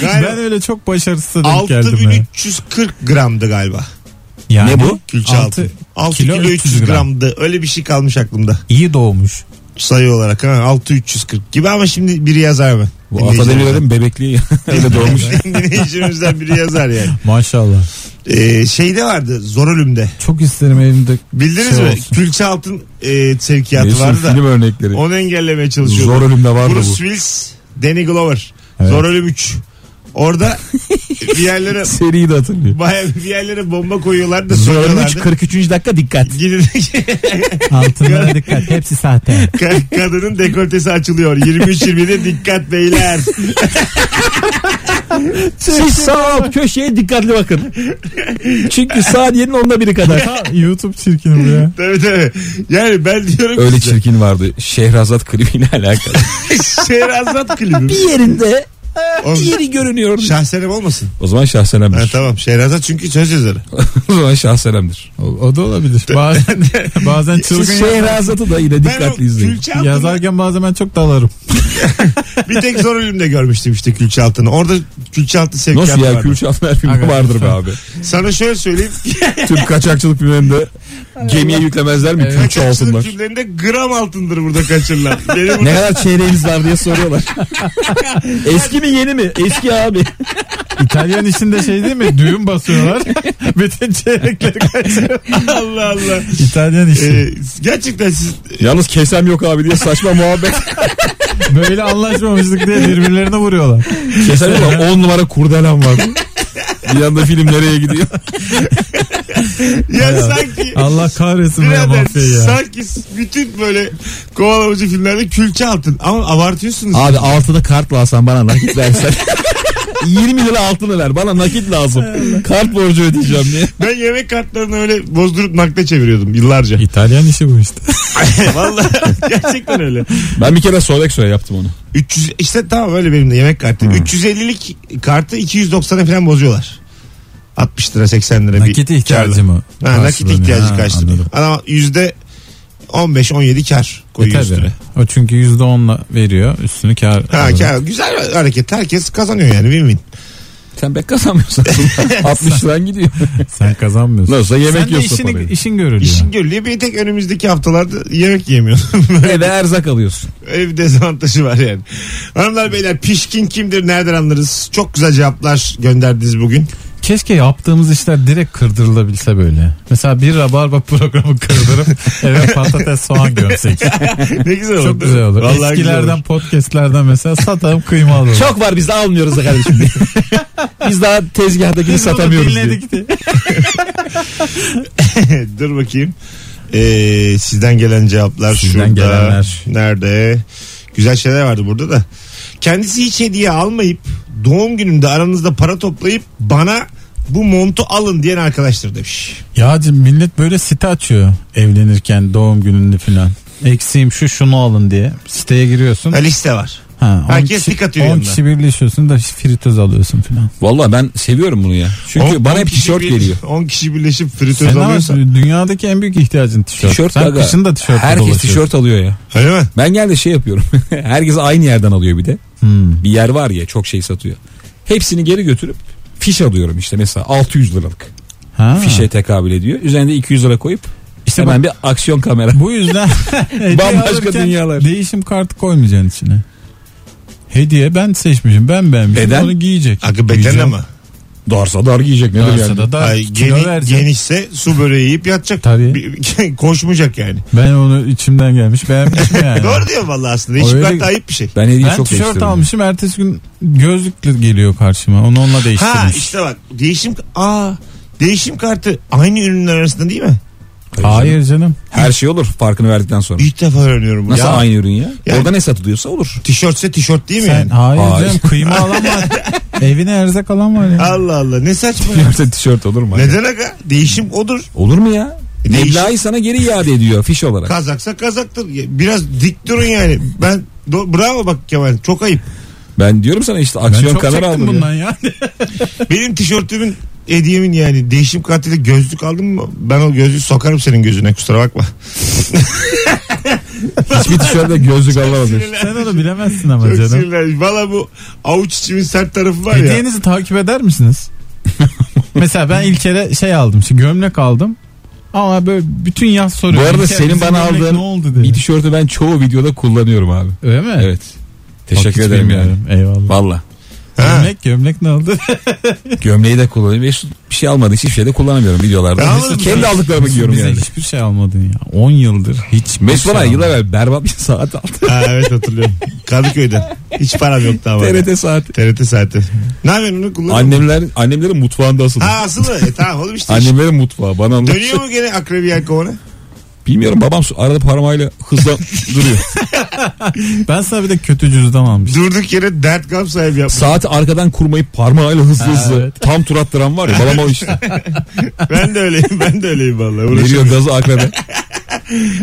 Speaker 2: Galiba
Speaker 3: ben öyle çok başarısız denk geldim. ya.
Speaker 2: 6340 gramdı galiba.
Speaker 3: Yani
Speaker 4: Ne bu?
Speaker 2: Külçe
Speaker 3: Altı
Speaker 2: altı. 6 kilo,
Speaker 3: kilo
Speaker 2: 300
Speaker 3: 300 gram.
Speaker 2: gramdı. Öyle bir şey kalmış aklımda.
Speaker 3: iyi doğmuş.
Speaker 2: Sayı olarak ha 6340 gibi ama şimdi biri yazar mı?
Speaker 4: Bu ata demirlerin bebekliği öyle doğmuş.
Speaker 2: Dinleyicilerimizden biri yazar yani.
Speaker 3: Maşallah.
Speaker 2: Ee, şeyde vardı Zorolüm'de.
Speaker 3: Çok isterim elimde.
Speaker 2: Bildiniz
Speaker 3: Şey
Speaker 2: mi?
Speaker 3: olsun.
Speaker 2: Külçe altın e, sevkiyatı
Speaker 4: Mesut
Speaker 2: vardı da.
Speaker 4: film örnekleri.
Speaker 2: Onu engellemeye
Speaker 4: Zor
Speaker 2: çalışıyorlar.
Speaker 4: ölümde vardı
Speaker 2: Bruce
Speaker 4: bu.
Speaker 2: Willis, Danny Glover.
Speaker 3: Evet.
Speaker 2: Zor ölüm 3. Orada bir yerlere
Speaker 4: Seriyi de hatırlıyor.
Speaker 2: bayağı bir yerlere bomba koyuyorlar da
Speaker 4: Zor ölüm
Speaker 2: soruyorlar.
Speaker 4: 3 43. dakika dikkat.
Speaker 2: Gidin
Speaker 3: Altınlara dikkat. Hepsi sahte.
Speaker 2: Ka- kadının dekoltesi açılıyor. 23-27 dikkat beyler.
Speaker 4: Siz sağ köşeye dikkatli bakın. Çünkü saniyenin onda biri kadar.
Speaker 3: YouTube çirkin bu ya.
Speaker 2: tabii tabii. Yani ben diyorum
Speaker 4: Öyle
Speaker 2: size.
Speaker 4: çirkin vardı. Şehrazat klibiyle alakalı.
Speaker 2: Şehrazat klibi.
Speaker 4: bir yerinde
Speaker 2: Oğlum,
Speaker 4: görünüyor.
Speaker 2: Şahsenem olmasın.
Speaker 4: O zaman
Speaker 2: Ha,
Speaker 4: şahsenemdir.
Speaker 2: tamam Şehrazat çünkü söz yazarı.
Speaker 4: o zaman şahsenemdir.
Speaker 3: O, o da olabilir. Bazen, bazen
Speaker 4: Siz
Speaker 3: çılgın
Speaker 4: Şehrazat'ı da yine
Speaker 2: Ben o
Speaker 4: dikkatli izleyin.
Speaker 2: külçe altını
Speaker 3: yazarken bazen şey ben çok dalarım.
Speaker 2: bir tek zor ölümde görmüştüm işte külçe altını. Orada külçe altı sevkiyatı
Speaker 4: Nasıl ya
Speaker 2: vardı.
Speaker 4: külçe altın her filmde
Speaker 3: Aga,
Speaker 4: vardır be
Speaker 3: lütfen.
Speaker 4: abi.
Speaker 2: Sana şöyle söyleyeyim.
Speaker 4: Türk kaçakçılık filmlerinde gemiye yüklemezler mi
Speaker 3: Evet.
Speaker 4: külçe
Speaker 2: Kaçakçılık
Speaker 4: altınlar?
Speaker 2: filmlerinde gram altındır burada kaçırılan. Benim
Speaker 4: Ne kadar çeyreğiniz var diye soruyorlar. Eski mi yeni mi? Eski abi.
Speaker 3: İtalyan işinde şey değil mi? Düğün basıyorlar. Bütün çeyrekleri kaçıyor.
Speaker 2: Allah Allah.
Speaker 3: İtalyan işi.
Speaker 2: Ee, gerçekten siz
Speaker 4: Yalnız kesem yok abi diye saçma muhabbet.
Speaker 3: Ee, Böyle anlaşmamışlık diye birbirlerine vuruyorlar.
Speaker 4: Kesem yok ama 10 numara kurdelem var. Bir yanda film nereye gidiyor?
Speaker 2: yani sanki
Speaker 3: Allah kahretsin bu ya
Speaker 2: birader
Speaker 3: mafyayı ya.
Speaker 2: sanki bütün böyle kovalamacı filmlerde külçe altın ama abartıyorsunuz.
Speaker 4: Abi altını kartla alsan bana nakit versen. 20 lira altını ver bana nakit lazım. Kart borcu ödeyeceğim diye.
Speaker 2: Ben yemek kartlarını öyle bozdurup nakde çeviriyordum yıllarca.
Speaker 3: İtalyan işi bu işte.
Speaker 2: Vallahi gerçekten öyle.
Speaker 4: Ben bir kere Sodexo'ya yaptım onu.
Speaker 2: 300 işte tamam öyle benim de yemek
Speaker 3: Hmm.
Speaker 2: kartı. 350'lik kartı 290'a falan bozuyorlar. 60 lira 80 lira
Speaker 3: Nakit
Speaker 2: bir
Speaker 3: ihtiyacı
Speaker 2: karla.
Speaker 3: mı?
Speaker 2: Ha, nakit
Speaker 3: karşılanıyor?
Speaker 2: ihtiyacı
Speaker 3: Ha,
Speaker 2: karşılıyor.
Speaker 3: anladım.
Speaker 2: Adam yüzde 15-17 kar
Speaker 3: E
Speaker 2: koyuyor üstüne.
Speaker 3: tabii. O çünkü %10'la veriyor. Üstünü kar.
Speaker 2: Ha,
Speaker 3: alıyor.
Speaker 2: kar, güzel hareket. Herkes kazanıyor yani win win.
Speaker 4: Sen pek kazanmıyorsun. 60 liran gidiyor.
Speaker 3: Sen kazanmıyorsun.
Speaker 4: Nasılsa yemek
Speaker 3: Sen de
Speaker 4: yiyorsun
Speaker 3: işini,
Speaker 4: parayı.
Speaker 3: işin görülüyor.
Speaker 2: İşin görülüyor. Bir tek önümüzdeki haftalarda yemek yemiyorsun.
Speaker 4: Eve erzak alıyorsun.
Speaker 2: Öyle bir dezavantajı var yani. Hanımlar beyler pişkin kimdir nereden anlarız? Çok güzel cevaplar gönderdiniz bugün.
Speaker 3: Keşke yaptığımız işler direkt kırdırılabilse böyle. Mesela bir rabarba programı kırdırıp eve patates soğan gömsek.
Speaker 2: Ne güzel oldu.
Speaker 3: Çok güzel olur.
Speaker 2: Vallahi güzel
Speaker 3: Eskilerden
Speaker 2: olur.
Speaker 3: podcastlerden mesela satalım kıyma alalım.
Speaker 4: Çok var biz de almıyoruz da kardeşim. biz daha tezgahtakini
Speaker 3: Biz onu
Speaker 4: satamıyoruz diye.
Speaker 3: dinledik diye.
Speaker 2: Dur bakayım. Ee, sizden gelen cevaplar
Speaker 3: Sizden
Speaker 2: şurada.
Speaker 3: gelenler.
Speaker 2: Nerede? Güzel şeyler vardı burada da. Kendisi hiç hediye almayıp doğum günümde aranızda para toplayıp bana bu montu alın diyen arkadaştır demiş.
Speaker 3: Ya cim, millet böyle site açıyor evlenirken doğum gününde filan. Eksiğim şu şunu alın diye. Siteye giriyorsun.
Speaker 2: Ha, liste var.
Speaker 3: Ha, on
Speaker 2: Herkes
Speaker 3: kişi-
Speaker 2: dik atıyor
Speaker 3: 10
Speaker 2: yanına.
Speaker 3: kişi birleşiyorsun da fritöz alıyorsun filan.
Speaker 4: Valla ben seviyorum bunu ya. Çünkü
Speaker 2: On-
Speaker 4: bana
Speaker 2: on
Speaker 4: hep
Speaker 2: kişi
Speaker 4: tişört
Speaker 2: bir-
Speaker 4: geliyor.
Speaker 2: 10 kişi birleşip fritöz
Speaker 3: Sen
Speaker 2: alıyorsa.
Speaker 3: ama E dünyadaki en büyük ihtiyacın tişört.
Speaker 4: Tişört
Speaker 3: Sen
Speaker 4: aga.
Speaker 3: kışın da tişört
Speaker 4: Herkes tişört alıyor ya.
Speaker 2: Öyle mi?
Speaker 4: Ben genelde şey yapıyorum. Herkes aynı yerden alıyor bir de.
Speaker 3: Hmm.
Speaker 4: Bir yer var ya çok şey satıyor. Hepsini geri götürüp fiş alıyorum işte mesela 600 liralık.
Speaker 3: Ha.
Speaker 4: Fişe tekabül ediyor. Üzerine 200 lira koyup
Speaker 3: İşte
Speaker 4: hemen bir aksiyon kamera.
Speaker 3: Bu yüzden hediye
Speaker 4: Bambaşka
Speaker 3: alırken
Speaker 4: dünyalar.
Speaker 3: Değişim kartı koymayacaksın içine. Hediye ben seçmişim. Ben beğenmişim.
Speaker 4: Beden?
Speaker 3: Onu giyecek.
Speaker 2: Akı beden
Speaker 3: Giyecek.
Speaker 2: ama.
Speaker 4: Darsa dar giyecek nedir
Speaker 3: Varsa
Speaker 4: yani?
Speaker 3: da da
Speaker 2: Ay,
Speaker 3: kilo
Speaker 2: geni-
Speaker 3: verecek.
Speaker 2: genişse su böreği yiyip yatacak.
Speaker 3: Tabii.
Speaker 2: Bir- koşmayacak yani.
Speaker 3: Ben onu içimden gelmiş beğenmişim yani.
Speaker 2: Doğru diyor vallahi aslında. Hiç
Speaker 3: Öyle-
Speaker 2: bak da ayıp bir şey.
Speaker 4: Ben hediye
Speaker 3: Ben
Speaker 4: çok
Speaker 3: tişört
Speaker 4: değiştiririm.
Speaker 3: almışım. Ertesi gün gözlükle geliyor karşıma. Onu onunla değiştirmiş.
Speaker 2: Ha işte bak değişim aa değişim kartı aynı ürünler arasında değil mi?
Speaker 3: Hayır canım.
Speaker 4: Her şey olur farkını verdikten sonra.
Speaker 2: İlk defa öğreniyorum. bunu.
Speaker 4: Nasıl
Speaker 2: Ya,
Speaker 4: aynı ürün ya?
Speaker 2: Yani-
Speaker 4: Orada ne satılıyorsa olur.
Speaker 2: Tişörtse tişört değil mi
Speaker 3: Sen,
Speaker 2: yani?
Speaker 3: hayır,
Speaker 4: Hayır.
Speaker 3: canım kıyma alan var. Evine erzak alan var ya.
Speaker 2: Allah Allah ne saçma. ya.
Speaker 4: Tişörte tişört olur mu?
Speaker 2: Neden aga? Değişim odur.
Speaker 4: Olur mu ya?
Speaker 3: E,
Speaker 2: Değişik.
Speaker 4: Meblağı sana geri iade ediyor fiş olarak.
Speaker 2: Kazaksa kazaktır. Ya, Biraz dik durun yani. Ben do- bravo bak Kemal çok ayıp.
Speaker 4: Ben diyorum sana işte
Speaker 3: Ben
Speaker 4: aksiyon
Speaker 3: çok
Speaker 4: kamera
Speaker 3: çektim
Speaker 4: aldım. ya.
Speaker 3: bundan ya.
Speaker 2: Benim tişörtümün hediyemin yani değişim kartıyla gözlük aldın mı? Ben o gözlüğü sokarım senin gözüne kusura bakma.
Speaker 4: Hiçbir tişörtle gözlük alamadım.
Speaker 3: Sen onu bilemezsin ama
Speaker 2: Çok
Speaker 3: canım.
Speaker 2: sinirlendim. Valla bu avuç içimin sert tarafı var ya.
Speaker 3: Hediyenizi takip eder misiniz? Mesela ben ilk kere şey aldım. işte gömlek aldım. Ama böyle bütün yaz soruyorum.
Speaker 4: Bu arada
Speaker 3: İlker,
Speaker 4: senin
Speaker 3: bizim
Speaker 4: bana
Speaker 3: gömlek
Speaker 4: aldığın
Speaker 3: ne oldu diye.
Speaker 4: Bir tişörtü ben çoğu videoda kullanıyorum abi.
Speaker 3: Öyle mi?
Speaker 4: Evet. Teşekkür
Speaker 3: Bak, hiç
Speaker 4: ederim yani.
Speaker 3: bilmiyorum. Eyvallah.
Speaker 4: Valla.
Speaker 2: Ha.
Speaker 3: Gömlek gömlek ne oldu?
Speaker 4: Gömleği de kullanıyorum. Mesut bir şey almadı. Hiçbir şey de kullanamıyorum videolarda.
Speaker 2: Ya
Speaker 4: Mesut
Speaker 2: oğlum,
Speaker 4: kendi aldıklarımı giyiyorum
Speaker 3: Bize
Speaker 4: yani.
Speaker 3: hiçbir şey almadın ya. 10 yıldır hiç.
Speaker 4: Mesut bana
Speaker 3: şey
Speaker 4: yıllar
Speaker 3: almadın.
Speaker 4: evvel berbat bir saat aldı.
Speaker 2: ha, evet hatırlıyorum. Kadıköy'den. Hiç param yoktu ama. TRT.
Speaker 4: TRT saati.
Speaker 2: TRT saati. Ne yapıyorsun onu kullanıyor musun?
Speaker 4: Annemler, annemlerin mutfağında asılı.
Speaker 2: Ha asılı. E, tamam oğlum işte. iş.
Speaker 4: Annemlerin mutfağı bana anlat.
Speaker 2: Dönüyor mu gene akrebiyel kovana?
Speaker 4: Bilmiyorum babam su- arada parmağıyla hızla duruyor.
Speaker 3: Ben sana bir de kötü cüzdan almıştım.
Speaker 2: Durduk yere dert gam sahibi yapmış.
Speaker 4: Saati arkadan kurmayı parmağıyla hızlı
Speaker 3: Ha,
Speaker 4: hızlı
Speaker 3: evet.
Speaker 4: tam tur attıran var ya babam o işte.
Speaker 2: ben de öyleyim. Ben de öyleyim vallahi. Uğraşamıyorum.
Speaker 4: Veriyor gazı akrede.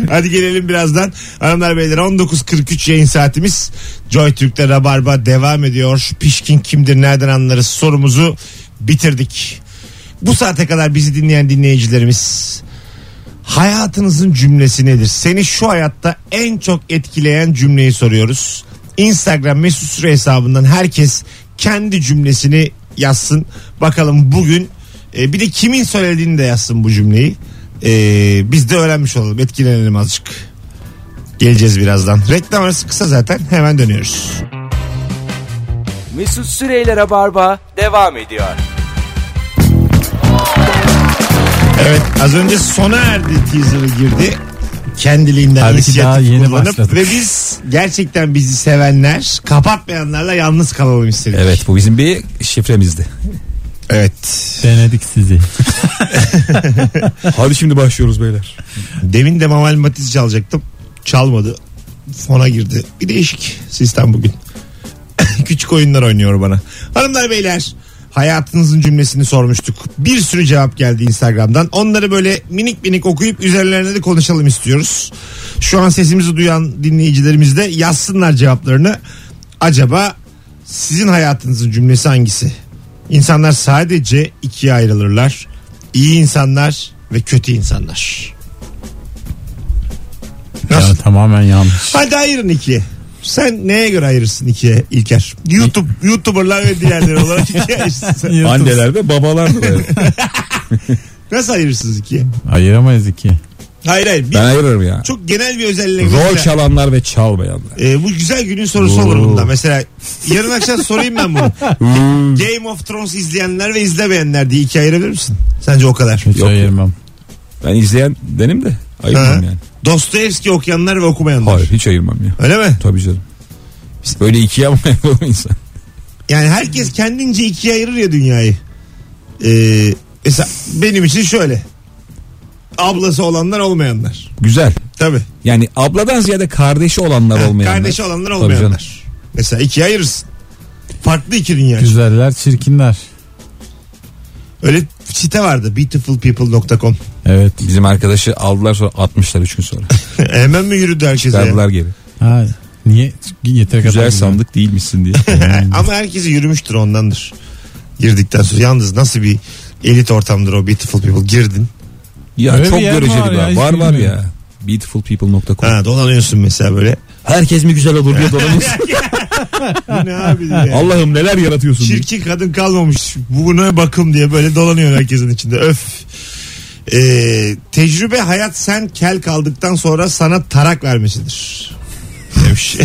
Speaker 2: Hadi gelelim birazdan. Hanımlar beyler 19.43 yayın saatimiz. Joy Türk'te Rabarba devam ediyor. Pişkin kimdir nereden anlarız sorumuzu bitirdik. Bu saate kadar bizi dinleyen dinleyicilerimiz hayatınızın cümlesi nedir? Seni şu hayatta en çok etkileyen cümleyi soruyoruz. Instagram mesut süre hesabından herkes kendi cümlesini yazsın. Bakalım bugün e, bir de kimin söylediğini de yazsın bu cümleyi. E, biz de öğrenmiş olalım etkilenelim azıcık. Geleceğiz birazdan. Reklam arası kısa zaten hemen dönüyoruz.
Speaker 1: Mesut Süreyler'e barba devam ediyor.
Speaker 2: Evet az önce sona erdi teaser'ı girdi. Kendiliğinden
Speaker 3: Halbuki
Speaker 2: inisiyatif
Speaker 3: daha yeni
Speaker 2: kullanıp
Speaker 3: başladık.
Speaker 2: ve biz gerçekten bizi sevenler kapatmayanlarla yalnız kalalım istedik.
Speaker 4: Evet bu bizim bir şifremizdi.
Speaker 2: Evet.
Speaker 3: Denedik sizi.
Speaker 4: Hadi şimdi başlıyoruz beyler.
Speaker 2: Demin de Mamal Matiz çalacaktım. Çalmadı. Fona girdi. Bir değişik sistem bugün. Küçük oyunlar oynuyor bana. Hanımlar beyler hayatınızın cümlesini sormuştuk. Bir sürü cevap geldi Instagram'dan. Onları böyle minik minik okuyup üzerlerine de konuşalım istiyoruz. Şu an sesimizi duyan dinleyicilerimiz de yazsınlar cevaplarını. Acaba sizin hayatınızın cümlesi hangisi? İnsanlar sadece ikiye ayrılırlar. İyi insanlar ve kötü insanlar. Nasıl?
Speaker 3: ya tamamen yanlış.
Speaker 2: Hadi ayırın ikiye. Sen neye göre ayırırsın ikiye İlker? YouTube, YouTuber'lar ve diğerleri olarak ikiye ayırırsın.
Speaker 4: Anneler ve babalar da böyle.
Speaker 2: Nasıl ayırırsınız ikiye?
Speaker 3: Ayıramayız iki.
Speaker 2: Hayır hayır. Bir,
Speaker 4: Ben ayırırım ya.
Speaker 2: Çok genel bir özelliğe.
Speaker 4: Rol
Speaker 2: Mesela,
Speaker 4: çalanlar ve çalmayanlar.
Speaker 2: e, bu güzel günün sorusu olur
Speaker 4: Oo.
Speaker 2: bunda. Mesela yarın akşam sorayım ben bunu. Game of Thrones izleyenler ve izlemeyenler diye ikiye ayırabilir misin? Sence o kadar.
Speaker 3: Hiç
Speaker 4: Yok.
Speaker 3: ayırmam.
Speaker 4: Ben izleyen denim de
Speaker 2: Ha?
Speaker 4: ayırmam yani.
Speaker 2: Dostoyevski okuyanlar ve okumayanlar.
Speaker 4: Hayır hiç ayırmam ya.
Speaker 2: Öyle mi?
Speaker 4: Tabii canım. Biz böyle ikiye ama yapalım insan.
Speaker 2: Yani herkes kendince ikiye ayırır ya dünyayı. Ee, mesela benim için şöyle. Ablası olanlar olmayanlar.
Speaker 4: Güzel.
Speaker 2: Tabii.
Speaker 4: Yani abladan ziyade kardeşi olanlar olmayanlar.
Speaker 2: Kardeşi olanlar
Speaker 4: Tabii canım.
Speaker 2: olmayanlar. Mesela ikiye ayırırsın. Farklı iki dünya.
Speaker 3: Güzeller çirkinler.
Speaker 2: Öyle site vardı. beautifulpeople.com
Speaker 3: Evet.
Speaker 4: Bizim arkadaşı aldılar sonra atmışlar 3 gün sonra.
Speaker 2: Hemen mi yürüdü herkese? ya?
Speaker 4: Verdiler geri.
Speaker 3: Ha, niye? Yeter kadar
Speaker 4: Güzel
Speaker 3: güzel.
Speaker 4: sandık değilmişsin diye.
Speaker 2: Ama herkesi yürümüştür ondandır. Girdikten sonra. Yalnız nasıl bir elit ortamdır o beautiful people. Girdin.
Speaker 4: ya
Speaker 3: Öyle
Speaker 4: çok
Speaker 3: bir yer mi
Speaker 4: göreceli
Speaker 3: var
Speaker 4: var.
Speaker 3: ya? Hiç
Speaker 4: Var var
Speaker 3: bilmiyorum.
Speaker 4: ya. Beautifulpeople.com
Speaker 2: Ha, dolanıyorsun mesela böyle.
Speaker 4: Herkes mi güzel olur diye dolanıyorsun.
Speaker 2: Bu ne abi diye.
Speaker 4: Allah'ım neler yaratıyorsun. diye.
Speaker 2: Çirkin kadın kalmamış. Buna bakım diye böyle dolanıyor herkesin içinde. Öf. Ee, tecrübe hayat sen kel kaldıktan sonra sana tarak vermesidir. Demiş.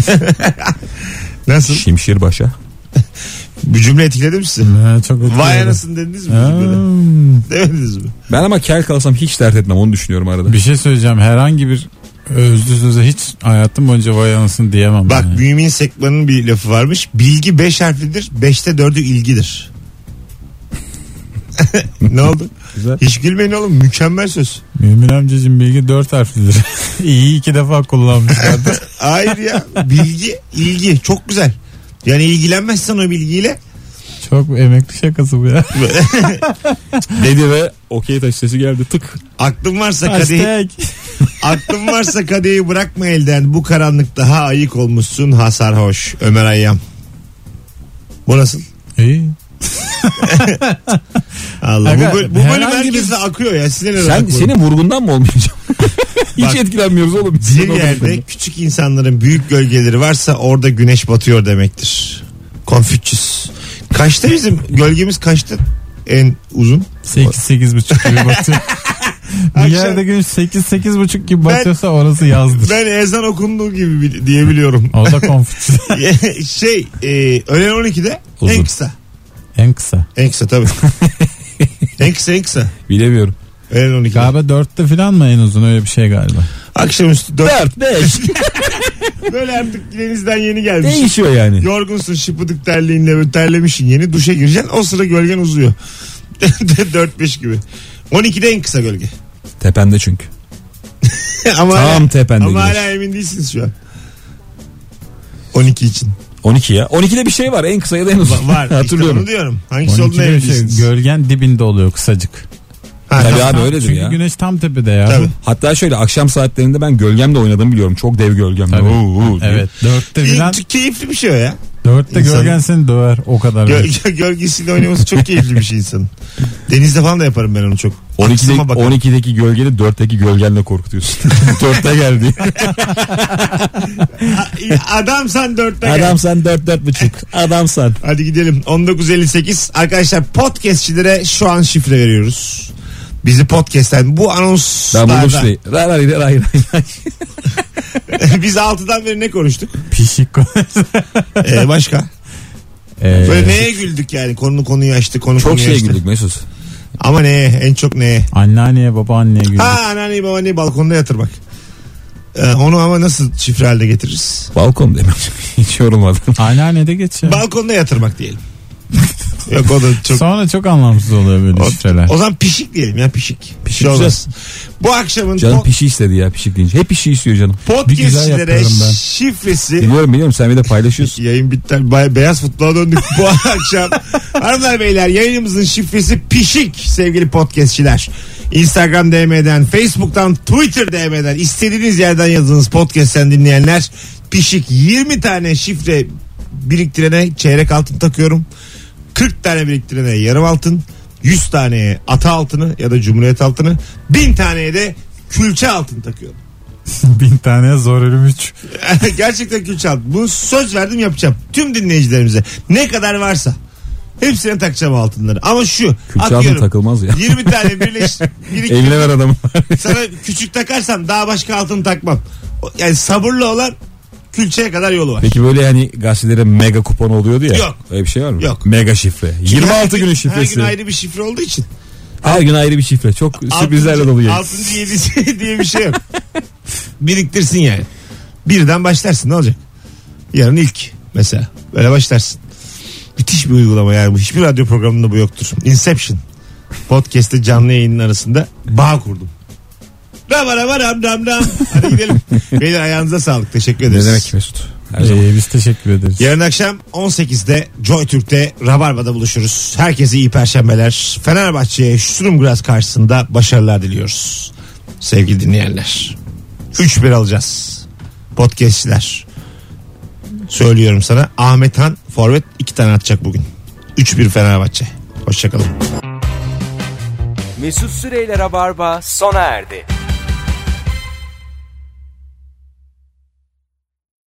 Speaker 2: Nasıl?
Speaker 4: Şimşir başa.
Speaker 2: Bu cümle etkiledi mi sizi?
Speaker 3: Ha, çok ötüyorum.
Speaker 2: Vay anasını dediniz mi? bu cümlede?
Speaker 3: Hmm.
Speaker 2: Demediniz mi?
Speaker 4: Ben ama kel kalsam hiç dert etmem onu düşünüyorum arada.
Speaker 3: Bir şey söyleyeceğim. Herhangi bir özlü söze hiç hayatım boyunca vay anasını diyemem.
Speaker 2: Bak
Speaker 3: yani.
Speaker 2: Mümin Sekman'ın bir lafı varmış. Bilgi 5 harflidir. 5'te 4'ü ilgidir. ne oldu?
Speaker 4: Güzel.
Speaker 2: Hiç gülmeyin oğlum. Mükemmel söz.
Speaker 3: Mümin amcacığım bilgi dört harflidir. İyi iki defa kullanmışlardır.
Speaker 2: Hayır ya. Bilgi, ilgi. Çok güzel. Yani ilgilenmezsen o bilgiyle
Speaker 3: Çok emekli şakası bu ya.
Speaker 4: Dedi ve okey taş sesi geldi tık.
Speaker 2: Aklın varsa kadehi,
Speaker 3: Hashtag.
Speaker 2: aklın varsa kadehi bırakma elden. Bu karanlık daha ayık olmuşsun hasar hoş. Ömer Ayyam. Bu nasıl?
Speaker 3: İyi.
Speaker 2: Allah.
Speaker 3: Aga,
Speaker 2: bu, böl- bu bölüm
Speaker 3: herhangi
Speaker 2: herkese akıyor ya. Size ne
Speaker 4: Sen
Speaker 2: rahat bu?
Speaker 4: senin vurgundan mı olmayacağım?
Speaker 2: Bak,
Speaker 4: Hiç etkilenmiyoruz oğlum.
Speaker 2: Bir
Speaker 4: Sen
Speaker 2: yerde
Speaker 4: olursun.
Speaker 2: küçük insanların büyük gölgeleri varsa orada güneş batıyor demektir. Konfüçyüs. Kaçta bizim gölgemiz kaçtı en uzun?
Speaker 3: 8 buçuk gibi batıyor. Bir yerde gün 8 8 buçuk gibi batıyorsa orası yazdır.
Speaker 2: Ben ezan okunduğu gibi bil- diyebiliyorum.
Speaker 3: o da konfüçyüs.
Speaker 2: şey e, öğlen 12'de en
Speaker 4: Uzun.
Speaker 2: kısa.
Speaker 3: en kısa.
Speaker 2: En kısa tabii. en kısa en kısa.
Speaker 4: Bilemiyorum.
Speaker 2: Öğlen 12'de.
Speaker 3: Galiba 4'te falan mı en uzun öyle bir şey galiba.
Speaker 2: Akşamüstü 4.
Speaker 4: 4 5
Speaker 2: Böyle artık denizden yeni gelmiş.
Speaker 4: değişiyor yani.
Speaker 2: Yorgunsun şıpıdık terliğinle böyle terlemişsin yeni duşa gireceksin o sıra gölgen uzuyor. 4-5 gibi. 12'de en kısa gölge.
Speaker 4: Tepende çünkü.
Speaker 2: ama
Speaker 4: Tam
Speaker 2: hala,
Speaker 4: tepende.
Speaker 2: ama
Speaker 4: güneş.
Speaker 2: hala emin değilsiniz şu an. 12 için.
Speaker 4: 12 ya. 12'de bir şey var. En kısa ya da en uzun.
Speaker 2: Va- Var. Hatırlıyorum.
Speaker 4: Hatırlıyorum.
Speaker 2: onu diyorum. Hangisi olduğuna
Speaker 3: 12'de
Speaker 2: emin
Speaker 3: şey,
Speaker 2: değilsiniz.
Speaker 3: gölgen dibinde oluyor kısacık.
Speaker 2: Ha,
Speaker 4: Tabii
Speaker 2: tamam.
Speaker 4: abi
Speaker 3: Tam-
Speaker 4: öyledir
Speaker 3: Çünkü
Speaker 4: ya.
Speaker 3: güneş tam tepede ya.
Speaker 2: Tabii.
Speaker 4: Hatta şöyle akşam saatlerinde ben gölgemle oynadığımı biliyorum. Çok dev gölgem.
Speaker 3: Tabii.
Speaker 4: Oo, oo diye.
Speaker 3: Evet 4'te falan
Speaker 2: İyi, keyifli bir şey o ya.
Speaker 3: 4'te
Speaker 2: İnsan-
Speaker 3: gölgen seni döver o kadar. belki.
Speaker 2: Göl- gölgesiyle oynaması çok keyifli bir şey insanın. Denizde falan da yaparım ben onu çok.
Speaker 4: 12'de,
Speaker 2: Aksıma bakar.
Speaker 4: 12'deki gölgeni 4'teki gölgenle korkutuyorsun. 4'te geldi.
Speaker 2: A- Adam sen dörtte gel.
Speaker 4: Adam sen 4 4,5. Adam sen.
Speaker 2: Hadi gidelim. 1958. Arkadaşlar podcastçilere şu an şifre veriyoruz. Bizi podcast'ten bu
Speaker 4: Ben şey-
Speaker 2: anonslarda
Speaker 4: buldum şurayı. Ray ray ray ray.
Speaker 2: biz 6'dan beri ne konuştuk?
Speaker 3: Pişik konu.
Speaker 2: Ee, başka?
Speaker 3: Ee,
Speaker 2: Böyle neye güldük yani? Konu konuyu açtı, konu
Speaker 4: şey- Çok
Speaker 2: konuyu
Speaker 4: şeye
Speaker 2: açtı.
Speaker 4: güldük Mesut.
Speaker 2: Ama neye? En çok neye?
Speaker 3: Anneanneye babaanneye güldük.
Speaker 2: Ha anneanneyi babaanneyi balkonda yatırmak. Ee, onu ama nasıl şifre haline getiririz?
Speaker 4: Balkon demem. Hiç yorulmadım.
Speaker 3: Anneanne de geç ya.
Speaker 2: Balkonda yatırmak diyelim. Yok o da çok...
Speaker 3: Sonra çok anlamsız oluyor böyle
Speaker 2: O,
Speaker 3: şifreler.
Speaker 2: o zaman pişik diyelim ya pişik. Bir şey
Speaker 4: Pişireceğiz.
Speaker 2: olmaz. Bu akşamın
Speaker 4: Canım
Speaker 2: po-
Speaker 4: pişi istedi ya pişik deyince. Hep pişi istiyor canım.
Speaker 3: Bir güzel
Speaker 2: podcastçilere
Speaker 3: yaparım ben.
Speaker 2: şifresi
Speaker 4: Biliyorum biliyorum sen bir de paylaşıyorsun.
Speaker 2: Yayın bitti. Bay- Beyaz futbola döndük bu akşam. Hanımlar beyler yayınımızın şifresi pişik sevgili podcastçiler. Instagram DM'den, Facebook'tan, Twitter DM'den istediğiniz yerden yazınız podcast'ten dinleyenler. Pişik 20 tane şifre biriktirene çeyrek altın takıyorum. 40 tane biriktirene yarım altın. 100 taneye ata altını ya da cumhuriyet altını. 1000 taneye de külçe altın takıyorum.
Speaker 3: Bin tane zor ölüm üç.
Speaker 2: Gerçekten Gülçal. Bunu söz verdim yapacağım. Tüm dinleyicilerimize. Ne kadar varsa. Hepsine takacağım altınları. Ama şu.
Speaker 4: Külçe altın
Speaker 2: atıyorum.
Speaker 4: takılmaz ya.
Speaker 2: 20 tane birleş. biriktir.
Speaker 4: Eline ver adamı.
Speaker 2: Sana küçük takarsam daha başka altın takmam. O- Yani sabırlı olan külçeye kadar yolu var.
Speaker 4: Peki böyle hani gazetelere mega kupon oluyordu ya.
Speaker 2: Yok.
Speaker 4: Öyle bir şey var mı?
Speaker 2: Yok.
Speaker 4: Mega şifre. 26
Speaker 2: Her
Speaker 4: günün
Speaker 2: gün-
Speaker 4: şifresi.
Speaker 2: Her gün ayrı bir şifre olduğu için.
Speaker 4: bir şifre. Çok sürprizlerle
Speaker 2: Altıncı-
Speaker 4: dolu yani.
Speaker 2: Altıncı yedisi diye bir şey yok. Biriktirsin yani. Birden başlarsın ne olacak? Yarın ilk mesela. Böyle başlarsın. Müthiş bir uygulama yani bu. Hiçbir radyo programında bu yoktur. Inception. Podcast'te canlı yayının arasında bağ kurdum. Ram ram ram ram ram. Hadi gidelim. Beyler ayağınıza sağlık. Teşekkür ederiz.
Speaker 4: Ne demek Mesut? Her zaman.
Speaker 3: Ee, biz teşekkür ederiz.
Speaker 2: Yarın akşam 18'de Joy Türk'te Rabarba'da buluşuruz. Herkese iyi perşembeler. Fenerbahçe'ye Sturmgras karşısında başarılar diliyoruz. Sevgili dinleyenler. 3-1 alacağız. Podcastçiler. Söylüyorum sana Ahmet Han forvet 2 tane atacak bugün. 3-1 Fenerbahçe. Hoşçakalın.
Speaker 1: Mesut Süreyler'e barba sona erdi.